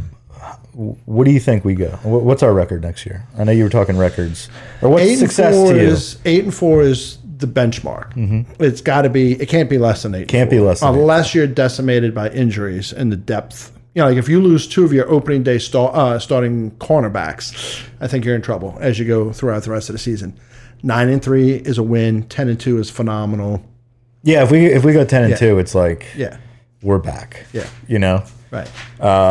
B: w- what do you think we go? Wh- What's our record next year? I know you were talking records. Or what's
C: eight
B: success
C: and four
B: to you? Mm-hmm.
C: is eight and four is the benchmark. It's got to be. It can't be less than eight.
B: Can't be less than eight.
C: unless you're decimated by injuries and the depth. You know, like if you lose two of your opening day sta- uh, starting cornerbacks, I think you're in trouble as you go throughout the rest of the season. Nine and three is a win. Ten and two is phenomenal.
B: yeah, if we if we go ten and two, it's like
C: Yeah,
B: we're back.
C: Yeah.
B: you know.
C: right.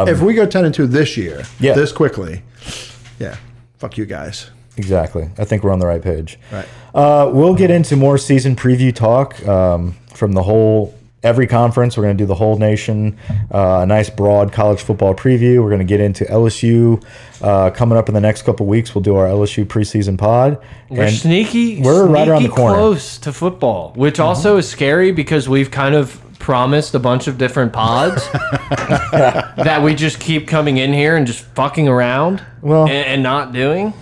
C: if we go ten and two this year,
B: Um, Yeah.
C: this quickly, yeah, fuck you guys.
B: Exactly. I think we're on the right page.
C: Right.
B: Uh, we'll get into more season preview talk um, from the whole every conference. We're going to do the whole nation. Uh, a nice broad college football preview. We're going to get into LSU uh, coming up in the next couple weeks. We'll do our LSU preseason pod.
A: We're
B: And-
A: sneaky.
B: we're right around the
A: sneaky
B: corner. Mm-hmm.
A: close to football, which also is scary because we've kind of promised a bunch of different pods that we just keep coming in here and just fucking around.
B: Well-
A: and, and not doing.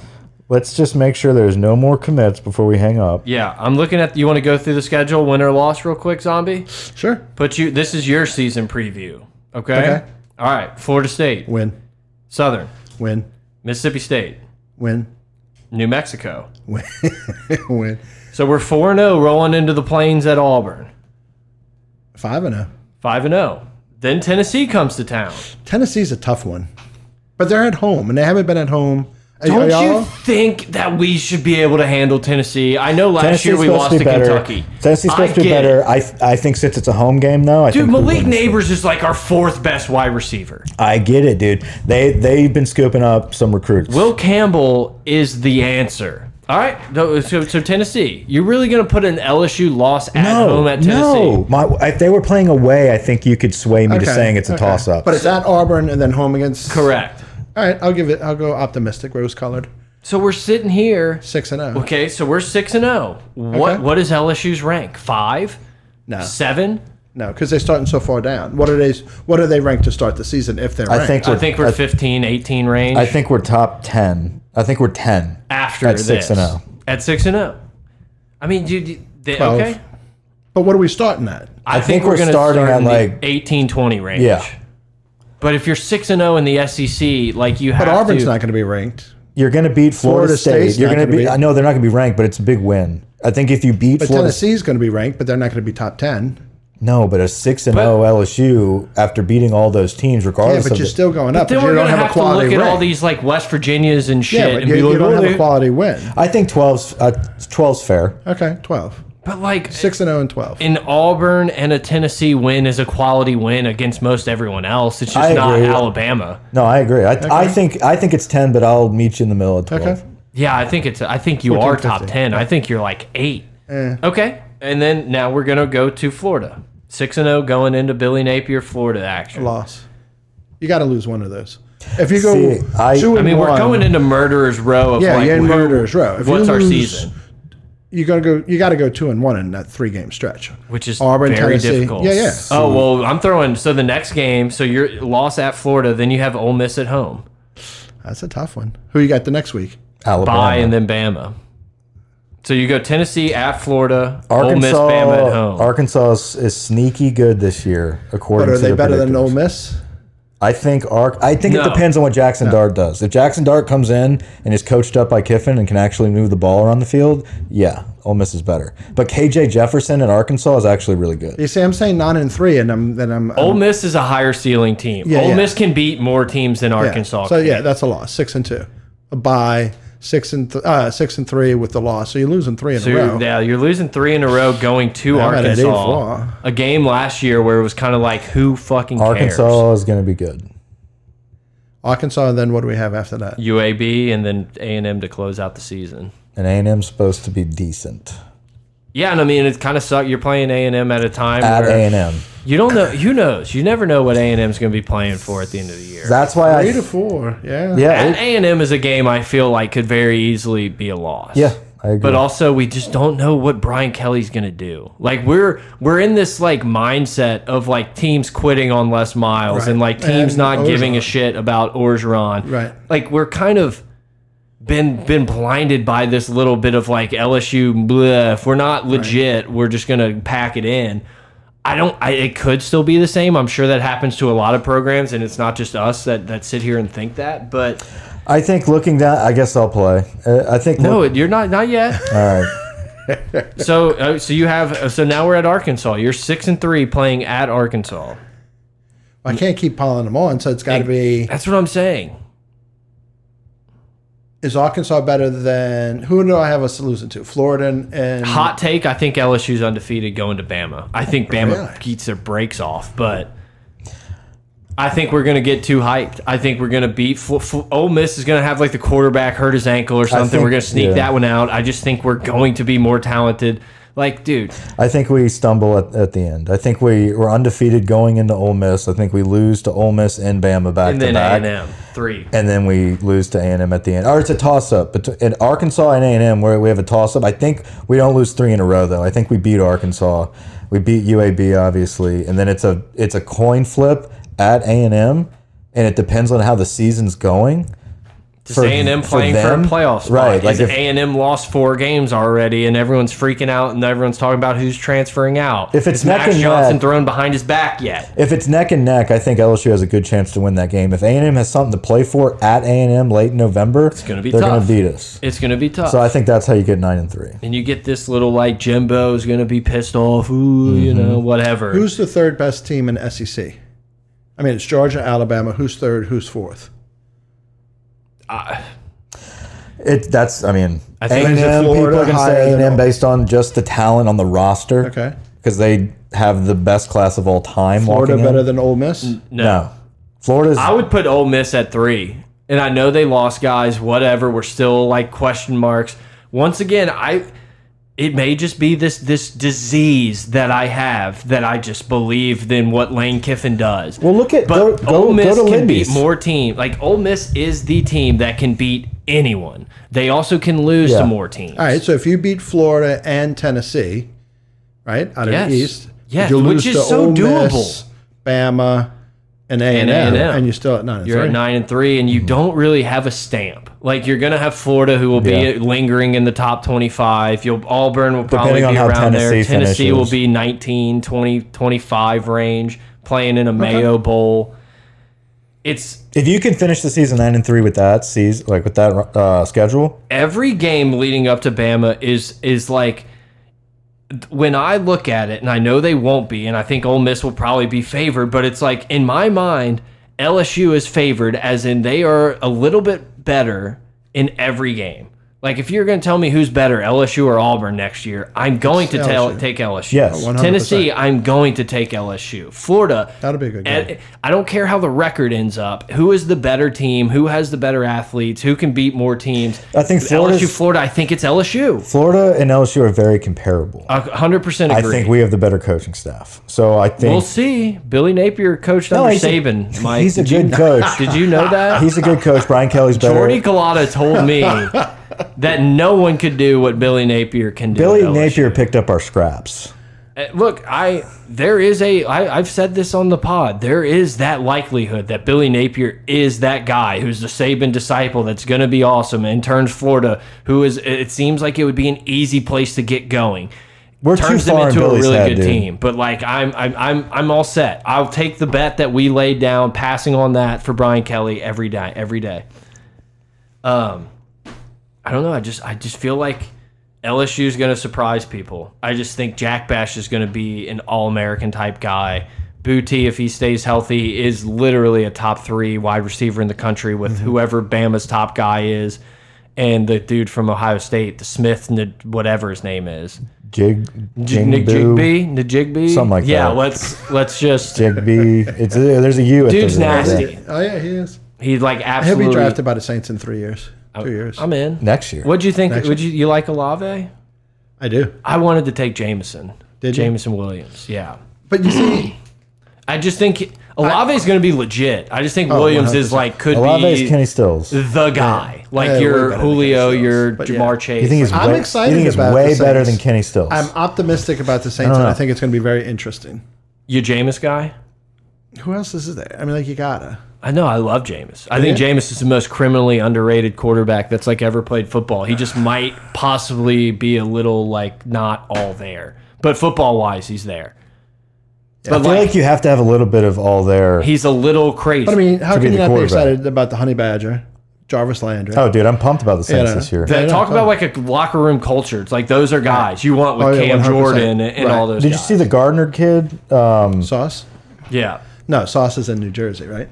B: let's just make sure there's no more commits before we hang up.
A: Yeah, I'm looking at. You want to go through the schedule, win or loss, real quick, zombie.
C: Sure,
A: Put you. This is your season preview. Okay.
C: Okay.
A: All right. Florida State,
C: win,
A: Southern,
C: win,
A: Mississippi State,
C: win,
A: New Mexico.
C: win, win.
A: So we're four and zero rolling into the plains at Auburn.
C: Five and a.
A: Five and zero. Then Tennessee comes to town.
C: Tennessee's a tough one, but they're at home and they haven't been at home. Are- are
A: Don't you
C: y'all-
A: think that we should be able to handle Tennessee? I know last
B: Tennessee's
A: year we
B: supposed
A: lost
B: be
A: to,
B: better.
A: Kentucky.
B: Tennessee's supposed
A: I
B: to be
A: get
B: better.
A: it.
B: I, th- I think since it's a home game, though, I
A: Dude,
B: think we
A: Malik
B: win.
A: Neighbors is like our fourth best wide receiver.
B: I get it, dude. They they've been scooping up some recruits.
A: Will Campbell is the answer. All right, so, so- so Tennessee, you're really going to put an LSU loss at home at Tennessee?
B: No, My, if they were playing away, I think you could sway me to
C: Okay,
B: saying it's a
C: okay.
B: toss up.
C: But it's at Auburn and then home against.
A: Correct.
C: All right, I'll give it. I'll go optimistic, rose colored,
A: So we're sitting here.
C: six and oh. zero.
A: Okay, so we're six and zero. What
C: Okay.
A: what is LSU's rank? Five,
C: No,
A: seven?
C: no, because they're starting so far down. What are they? What are they ranked to start the season if they're?
B: I think
C: ranked?
B: we're,
A: I think we're 15, 18 range.
B: I think we're top ten. I think we're ten.
A: after
B: at six
A: this.
B: and oh.
A: At six and zero. I mean, dude, you- they,
C: Twelve.
A: okay.
C: But what are we starting at?
A: I,
B: think we're
A: gonna
B: starting at,
A: in the
B: like-
A: 18, 20 range.
B: Yeah.
A: But if you're six and zero in the SEC, like you have
C: But Auburn's
A: to,
C: not going to be ranked.
B: You're going to beat Florida,
C: Florida
B: State.
C: State's
B: You're
C: not
B: going to
C: gonna
B: be.
C: be-
B: I know they're not going to be ranked, but it's a big win. I think if you beat
C: But
B: Florida,
C: Tennessee's going to be ranked, but they're not going to be top ten.
B: no, but a six and oh zero LSU after beating all those teams,
C: Yeah,
B: regardless
C: but
B: of
C: you're
B: the-
C: still going up.
A: Then
C: but you
A: we're
C: don't
A: gonna have
C: have, a
A: to look
C: quality
A: at
C: win.
A: all these like West Virginias and shit.
C: Yeah, but
A: and
C: you,
A: be
C: you
A: like,
C: don't
A: "Well,
C: have a
A: they-"
C: quality win.
B: I think 12's uh, 12's fair.
C: Okay, twelve.
A: But like
C: Six and zero and twelve.
A: an Auburn and a Tennessee win is a quality win against most everyone else. It's just
B: I
A: not
B: agree.
A: Alabama.
B: No, I agree. I, I think I think it's ten, but I'll meet you in the middle at twelve.
C: Okay.
A: Yeah, I think it's. I think you
C: 14,
A: are top
C: 15.
A: ten. I think you're like eight. Okay, and then now we're gonna go to Florida. Six and zero going into Billy Napier, Florida action.
C: loss. You got to lose one of those. If you go
B: See, I-
C: two and
A: I mean,
C: one,
A: we're going into murderers row of
C: yeah,
A: like
C: you're in
A: who-
C: murderers row. If you
A: what's our
C: lose-
A: season?
C: You got to go. You got to go two and one in that three game stretch.
A: Which is
C: Auburn,
A: very
C: Tennessee.
A: difficult.
C: Yeah, yeah.
A: Oh well, I'm throwing. So the next game, so you're loss at Florida, then you have Ole Miss at home,
C: That's a tough one. Who you got the next week?
B: Alabama.
A: bye, and then Bama. So you go Tennessee at Florida, Ole Miss,
B: Arkansas,
A: Bama at home.
B: Arkansas is, is sneaky good this year, according
C: But are
B: to
C: they
B: the
C: better than
B: predictors.
C: Ole Miss?
B: I think Ark. I think it
A: No.
B: depends on what Jackson Dart does. If Jackson Dart comes in and is coached up by Kiffin and can actually move the ball around the field, yeah, Ole Miss is better. But KJ Jefferson at Arkansas is actually really good.
C: You see, I'm saying nine and three, and I'm then I'm.
A: Ole
C: I'm-
A: Miss is a higher ceiling team.
C: Yeah,
A: Ole
C: yeah.
A: Miss can beat more teams than
C: yeah.
A: Arkansas.
C: So
A: can.
C: yeah, that's a loss. Six and two, a bye. Six and th- uh, six and three with the loss. So you're losing three in
A: So
C: a row.
A: you're, yeah, you're losing three in a row going to
C: I'm at an
A: Arkansas.
C: 84.
A: A game last year where it was kind of like, who fucking cares?
B: Arkansas is going to be good.
C: Arkansas, and then what do we have after that?
A: UAB and then A and M to close out the season.
B: And A and M's supposed to be decent.
A: Yeah, and I mean it kind of sucked. You're playing A and M at a time
B: at
A: where
B: A and M.
A: you don't know. Who knows? You never know what A and M's going to be playing for at the end of the year.
B: That's why
C: Three to
B: I.
C: four. Yeah.
B: Yeah, it-
A: A and M is a game I feel like could very easily be a loss.
B: Yeah, I agree.
A: But also, we just don't know what Brian Kelly's going to do. Like we're we're in this like mindset of like teams quitting on Les Miles
C: Right.
A: and like teams
C: And
A: not giving a
C: Orgeron.
A: shit about Orgeron.
C: Right.
A: Like we're kind of been been blinded by this little bit of like LSU. Bleh, if we're not legit, we're just going to pack it in. I don't. I, it could still be the same. I'm sure that happens to a lot of programs, and it's not just us that that sit here and think that. But
B: I think looking down, I guess I'll play. Uh, I think
A: no, you're not. Not yet.
B: All right.
A: So, uh, so you have. uh, So now we're at Arkansas. You're six and three playing at Arkansas.
C: I can't keep piling them on, so it's got to be.
A: That's what I'm saying.
C: Is Arkansas better than who do I have us losing to? Florida and, and
A: Hot take. I think LSU's undefeated going to Bama. I think Bama
C: Really?
A: keeps their brakes off, but I think we're gonna get too hyped. I think we're gonna beat. Fl- Fl- Ole Miss is gonna have like the quarterback hurt his ankle or something.
B: think-
A: we're gonna sneak
B: yeah.
A: that one out. I just think we're going to be more talented. Like, dude,
B: I think we stumble at, at the end. I think we were undefeated going into Ole Miss. I think we lose to Ole Miss and Bama back
A: and
B: to
A: then A
B: back.
A: and M three.
B: and then we lose to A&M at the end. Or it's a toss-up. But in Arkansas and A&M, where we have a toss-up. I think we don't lose three in a row, though. I think we beat Arkansas. We beat UAB, obviously. And then it's a it's a coin flip at A&M, and it depends on how the season's going.
A: Just
B: for-
A: A and M
B: for
A: playing
B: them?
A: for a playoff spot.
B: Right,
A: Like
B: like
A: A
B: if-
A: and M lost four games already, and everyone's freaking out, and everyone's talking about who's transferring out.
B: If it's
A: Is Max
B: neck and
A: Johnson
B: neck-
A: thrown behind his back yet,
B: If it's neck and neck, I think LSU has a good chance to win that game. If A&M has something to play for at A&M late in November, it's
A: gonna be
B: they're
A: tough.
B: to beat us.
A: it's going to be tough.
B: So I think that's how you get 9 and 3.
A: and you get this little like Jimbo's going to be pissed off. Ooh, you
B: Mm-hmm.
A: know, whatever.
C: who's the third best team in SEC? I mean, it's Georgia, Alabama. Who's third? Who's fourth?
B: It that's I mean
A: I
B: A
A: think
B: and
A: it's
B: M people
C: Florida
B: are gonna
C: higher
B: say A
C: than
B: and M
C: all.
B: based on just the talent on the roster.
C: Okay.
B: Because they have the best class of all time.
C: Florida
B: walking in.
C: better than Ole Miss.
A: Mm,
B: no. Florida's
A: I would put Ole Miss at three, and I know they lost guys. Whatever, we're still like question marks. Once again, I it may just be this this disease that I have that I just believe in what Lane Kiffin does.
B: Well, look at- go-
A: but
B: go- go
A: Ole Miss
B: to
A: can
B: Lindy's.
A: beat more team. Like Ole Miss is the team that can beat anyone. They also can lose
B: Yeah.
A: to more teams.
C: All right, so if you beat Florida and Tennessee, right out of
A: Yes.
C: the East,
A: Yes,
C: you
A: which
C: lose
A: is
C: to
A: so
C: Ole
A: doable.
C: Miss, Bama, and A and M,
A: A&M.
C: and you're still at nine. and
A: You're
C: three.
A: at nine and three, and you
B: Mm-hmm.
A: don't really have a stamp. Like you're gonna have Florida, who will be
B: Yeah.
A: lingering in the top 25. You'll Auburn will probably
B: Depending on
A: be
B: how
A: around there.
B: Tennessee
A: Tennessee will
B: finishes.
A: be 19, 20, 25 range, playing in a Mayo Bowl. It's
B: if you can finish the season nine and three with that season, like with that uh, schedule.
A: every game leading up to Bama is is like when I look at it, and I know they won't be, and I think Ole Miss will probably be favored, but it's like in my mind, LSU is favored, as in they are a little bit better in every game. Like if you're going to tell me who's better, LSU or Auburn next year, I'm going to tell
C: LSU.
A: take LSU.
B: Yes.
C: 100%.
A: Tennessee, I'm going to take LSU. Florida,
C: That'll be a good
A: and
C: game.
A: I don't care how the record ends up. Who is the better team? Who has the better athletes? Who can beat more teams?
B: I think Florida's-
A: LSU, Florida. I think it's LSU.
B: Florida and LSU are very comparable.
A: A hundred percent
B: I
A: agree.
B: think we have the better coaching staff. So I think
A: will see. Billy Napier coached
B: No,
A: under
B: he's a-
A: Saban. Mike,
B: he's a
A: did you-
B: good coach.
A: Did you know that?
B: he's a good coach. Brian Kelly's better.
A: Jordy Collada told me that no one could do what Billy Napier can do.
B: Billy
A: at LSU.
B: Napier picked up our scraps.
A: Uh, Look, I there is a I, I've said this on the pod. There is that likelihood that Billy Napier is that guy who's the Saban disciple that's going to be awesome and turns Florida, who is it seems like it would be an easy place to get going.
B: We're too
A: turns them
B: far in
A: into a
B: Billy's
A: really
B: head,
A: good
B: dude.
A: team. But like I'm I'm I'm I'm all set. I'll take the bet that we laid down, passing on that for Brian Kelly every day every day. I don't know. I just I just feel like LSU is going to surprise people. I just think Jack Bash is going to be an all American type guy. Booty, if he stays healthy, is literally a top three wide receiver in the country with
B: Mm-hmm.
A: whoever Bama's top guy is, and the dude from Ohio State, the Smith, N- whatever his name is,
B: Jig,
A: J- Nick
B: Jingbu,
A: Jigby, Nick Jigby,
B: Something like
A: yeah,
B: that.
A: let's let's just
B: Jigby. It's there's a U. At the
A: dude's
B: end of it.
A: nasty.
C: Oh yeah, he is.
A: He's like
C: He'll
A: absolutely.
C: be drafted by the Saints in three years, two years.
A: I'm in.
B: Next year.
A: What'd you think? Would you you like Olave?
C: I do.
A: I wanted to take Jameson.
C: Did you?
A: Jameson Williams. Yeah.
C: But you see,
A: I just think Olave is going to be legit. I just think
C: Oh,
A: Williams is like could
B: Olave's
A: be
B: Kenny Stills. You
A: the guy. Like
C: Yeah, way better
A: your
C: than
A: Julio,
C: Kenny Stills.
A: your
C: But
A: Jamar
C: yeah.
A: Chase.
B: think he's
A: Like,
C: I'm
B: way,
C: excited
B: you think he's
C: about
B: way
C: the
B: better than
C: Saints.
B: Kenny Stills.
C: I'm optimistic about the Saints, and I think it's going to be very interesting.
A: you Jameis guy?
C: Who else is there? I mean, like you gotta.
A: I know. I love Jameis. I think Jameis is the most criminally underrated quarterback that's like ever played football. He just might possibly be a little like not all there, but football wise, he's there.
B: I
A: But
B: feel like,
A: like
B: you have to have a little bit of all there.
A: he's a little crazy.
C: But I mean, how
B: To be
C: can you
B: the
C: not be
B: quarterback.
C: excited about the Honey Badger, Jarvis Landry?
B: oh, dude, I'm pumped about the Saints
C: no.
B: this year.
A: That-
C: Yeah,
A: talk
C: no,
A: about like a locker room culture. It's like those are guys you want with
C: Oh, yeah,
A: Cam
C: 100%.
A: Jordan and, and all
C: Right.
A: those.
B: Did you
A: guys.
B: see the Gardner kid? Um,
C: Sauce?
A: Yeah.
C: No, Sauce is in New Jersey, right?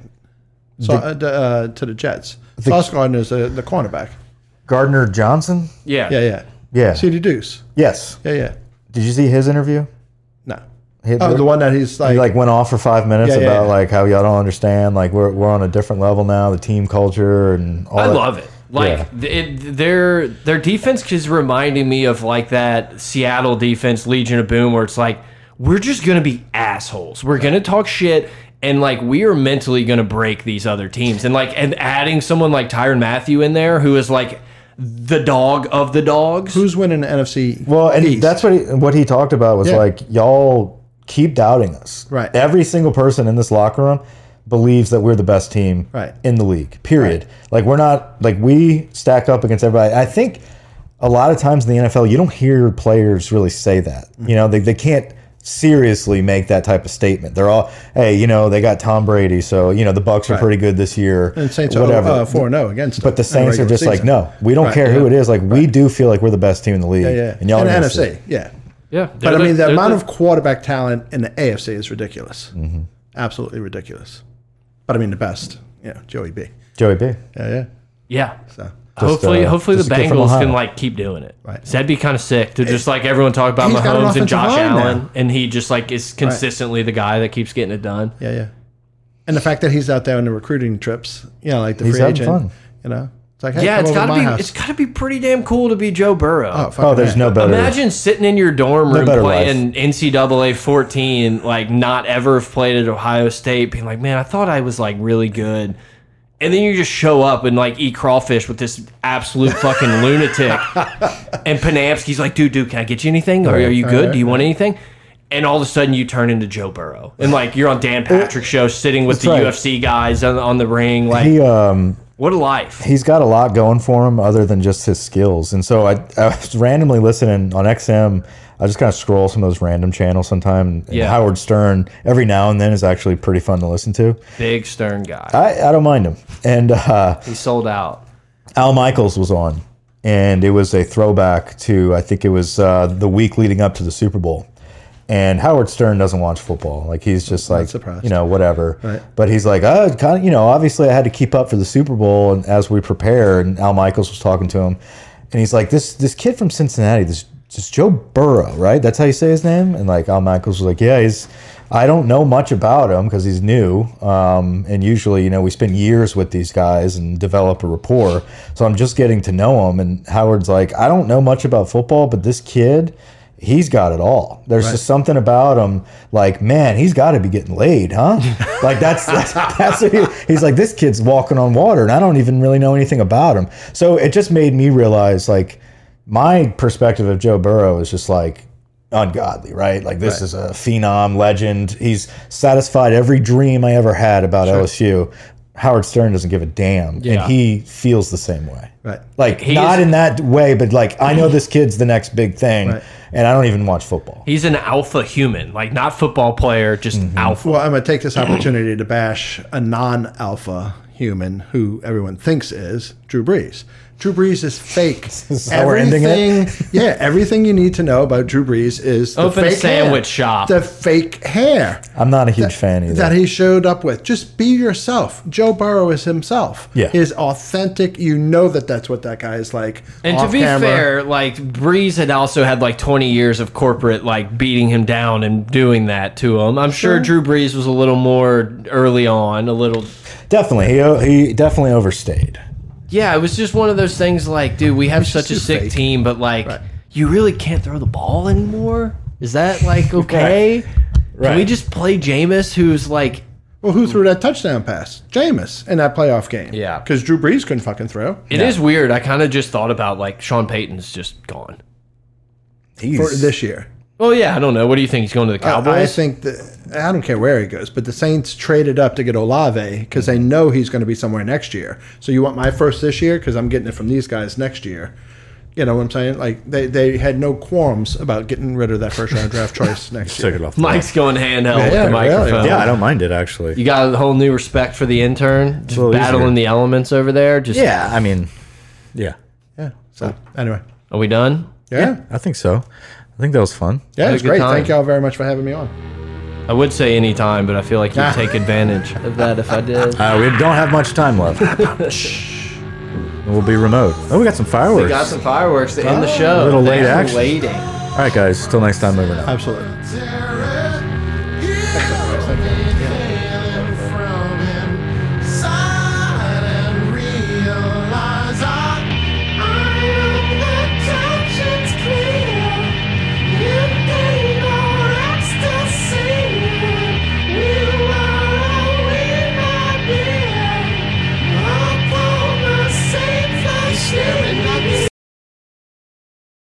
C: So, uh, d- uh, to the Jets. Sauce Gardner is the, the cornerback.
B: Gardner Johnson?
A: Yeah.
C: Yeah, yeah.
B: Yeah.
C: CD Deuce.
B: Yes.
C: Yeah, yeah.
B: Did you see his interview?
C: No.
B: He,
C: Oh, the one that he's like,
B: he like went off for five minutes
C: Yeah, yeah,
B: about
C: yeah.
B: like how y'all don't understand. Like we're, we're on a different level now. The team culture and all.
A: I
B: that.
A: love it. Like th- it, their their defense is reminding me of like that Seattle defense, Legion of Boom, where it's like we're just gonna be assholes. We're gonna talk shit, and like we are mentally gonna break these other teams. And like and adding someone like Tyron Matthew in there, who is like the dog of the dogs.
C: who's winning the NFC?
B: Well, and
C: East?
B: that's what he, what he talked about was
C: Yeah.
B: like y'all keep doubting us.
C: Right.
B: Every single person in this locker room believes that we're the best team
C: Right.
B: in the league. Period. Like we're not like we stack up against everybody. I think a lot of times in the NFL you don't hear players really say that.
C: Mm-hmm.
B: You know, they they can't seriously make that type of statement. They're all, hey, you know, they got Tom Brady, so you know the Bucks are pretty good this year.
C: And Saints are
B: whatever.
C: uh, 4 0 against
B: But the Saints are just like, no, we don't care who it is. Like, we do feel like we're the best team in the league.
C: Yeah, yeah.
B: And y'all
C: in the
B: are gonna
C: NFC,
B: sit.
C: yeah.
A: yeah,
C: But I mean, the amount of quarterback talent in the AFC is ridiculous.
B: Mm-hmm.
C: Absolutely ridiculous. But I mean, the best, yeah, Joey B.
B: Joey B.
C: Yeah, yeah.
A: yeah.
C: So
A: hopefully,
B: uh,
A: hopefully the
B: just a kid from
A: Bengals
B: Ohio.
A: can like keep doing it.
C: Right.
A: So that'd be kind of sick to just like everyone talk about
C: He's got
A: Mahomes
C: an
A: and
C: offensive
A: Josh
C: line
A: Allen,
C: now.
A: and he just like is consistently the guy that keeps getting it done.
C: yeah, yeah. And the fact that he's out there on the recruiting trips, you know, like the
B: He's
C: free
B: having
C: agent,
B: fun.
C: you know, it's like, hey,
A: Yeah,
C: come
A: it's
C: over
A: gotta
C: my
A: be
C: house.
A: it's gotta be pretty damn cool to be Joe Burrow.
C: oh, fucking
B: Oh, there's
C: yeah.
B: no better.
A: Imagine sitting in your dorm room
B: better
A: playing NCAA 14, like not ever have played at Ohio State, being like, man, I thought I was like really good. And then you just show up and like eat crawfish with this absolute fucking lunatic. And Panamsky's like, dude, dude, can I get you anything? Or are you good? Do you want anything? And all of a sudden you turn into Joe Burrow. And like you're on Dan Patrick's show sitting with the
B: Uh, right.
A: UFC guys on, on the ring. Like,
B: He um
A: what a life.
B: he's got a lot going for him other than just his skills. And so I, I was randomly listening on XM. I just kind of scroll some of those random channels sometime. And
A: Yeah.
B: Howard Stern every now and then is actually pretty fun to listen to.
A: Big stern guy.
B: I, I don't mind him. And uh,
A: He sold out.
B: Al Michaels was on, and it was a throwback to I think it was uh, the week leading up to the Super Bowl. And Howard Stern doesn't watch football; like he's just like
C: surprised.
B: you know whatever. But he's like, oh, kind of, you know, obviously I had to keep up for the Super Bowl, and as we prepare, and Al Michaels was talking to him, and he's like, this this kid from Cincinnati, this this Joe Burrow, right? That's how you say his name. And like Al Michaels was like, yeah, he's. I don't know much about him because he's new, um, and usually, you know, we spend years with these guys and develop a rapport. So I'm just getting to know him. And Howard's like, I don't know much about football, but this kid, he's got it all. There's just something about him, like man, he's got to be getting laid, huh? like that's that's, that's what he, he's like this kid's walking on water, and I don't even really know anything about him. So it just made me realize, like, my perspective of Joe Burrow is just like ungodly, right? Like this is a phenom, legend. He's satisfied every dream I ever had about LSU. Howard Stern doesn't give a damn,
A: Yeah.
B: and he feels the same way.
C: Right.
B: Like
A: He
B: not
A: is-
B: in that way, but like I know this kid's the next big thing,
C: Right.
B: and I don't even watch football.
A: He's an alpha human, like not football player, just alpha.
C: Well, I'm going to take this opportunity to bash a non alpha human who everyone thinks is Drew Brees. Drew Breeze is fake.
B: is how we're ending it?
C: yeah, everything you need to know about Drew Brees is the
A: Open a
C: fake hair.
A: sandwich shop.
C: the fake hair
B: I'm not a huge fan either.
C: that he showed up with. Just be yourself. Joe Burrow is himself.
B: Yeah.
C: he is authentic. You know that that's what that guy is like.
A: And to
C: off
A: be
C: camera.
A: fair, like Breeze had also had like 20 years of corporate like beating him down and doing that to him. I'm sure, Drew Brees was a little more early on, a little.
B: definitely, he he definitely overstayed.
A: Yeah, it was just one of those things like, dude, we have such a
C: just
A: sick
C: fake.
A: team, but like you really can't throw the ball anymore. Is that like okay? Can we
B: Right.
A: just play Jameis, who's like
C: Well, who threw that touchdown pass? Jameis in that playoff game.
A: Yeah.
C: Because Drew Brees couldn't fucking throw.
A: It is weird. I kind of just thought about like Sean Payton's just gone.
B: He's,
C: For this year.
A: Well, yeah, I don't know. What do you think? He's going to the Cowboys?
C: I think that I don't care where he goes, but the Saints traded up to get Olave because they know he's going to be somewhere next year. So you want my first this year because I'm getting it from these guys next year. You know what I'm saying? Like they, they had no qualms about getting rid of that first round draft choice next
B: took
C: year.
B: it off. the
A: Mike's going handheld with
C: Yeah,
A: the
C: really.
A: microphone.
B: Yeah, I don't mind it actually.
A: You got a whole new respect for the intern, just
B: little
A: battling
B: easier.
A: the elements over there. Just
B: yeah, I mean, yeah,
C: Yeah. So anyway,
A: are we done?
C: yeah, yeah,
B: I think so. I think that was fun.
A: Had a
C: it's
A: good
C: great.
A: time.
C: Thank y'all very much for having me on.
A: I would say any time, but I feel like you'd take advantage of that if I did.
B: Uh, we don't have much time left. we'll be remote. Oh, we got some fireworks.
A: We got some fireworks to end the show.
B: Oh, little late
A: Thanks for
B: action.
A: Waiting.
B: All right, guys. Till next time, over and out.
C: Absolutely.
G: Tear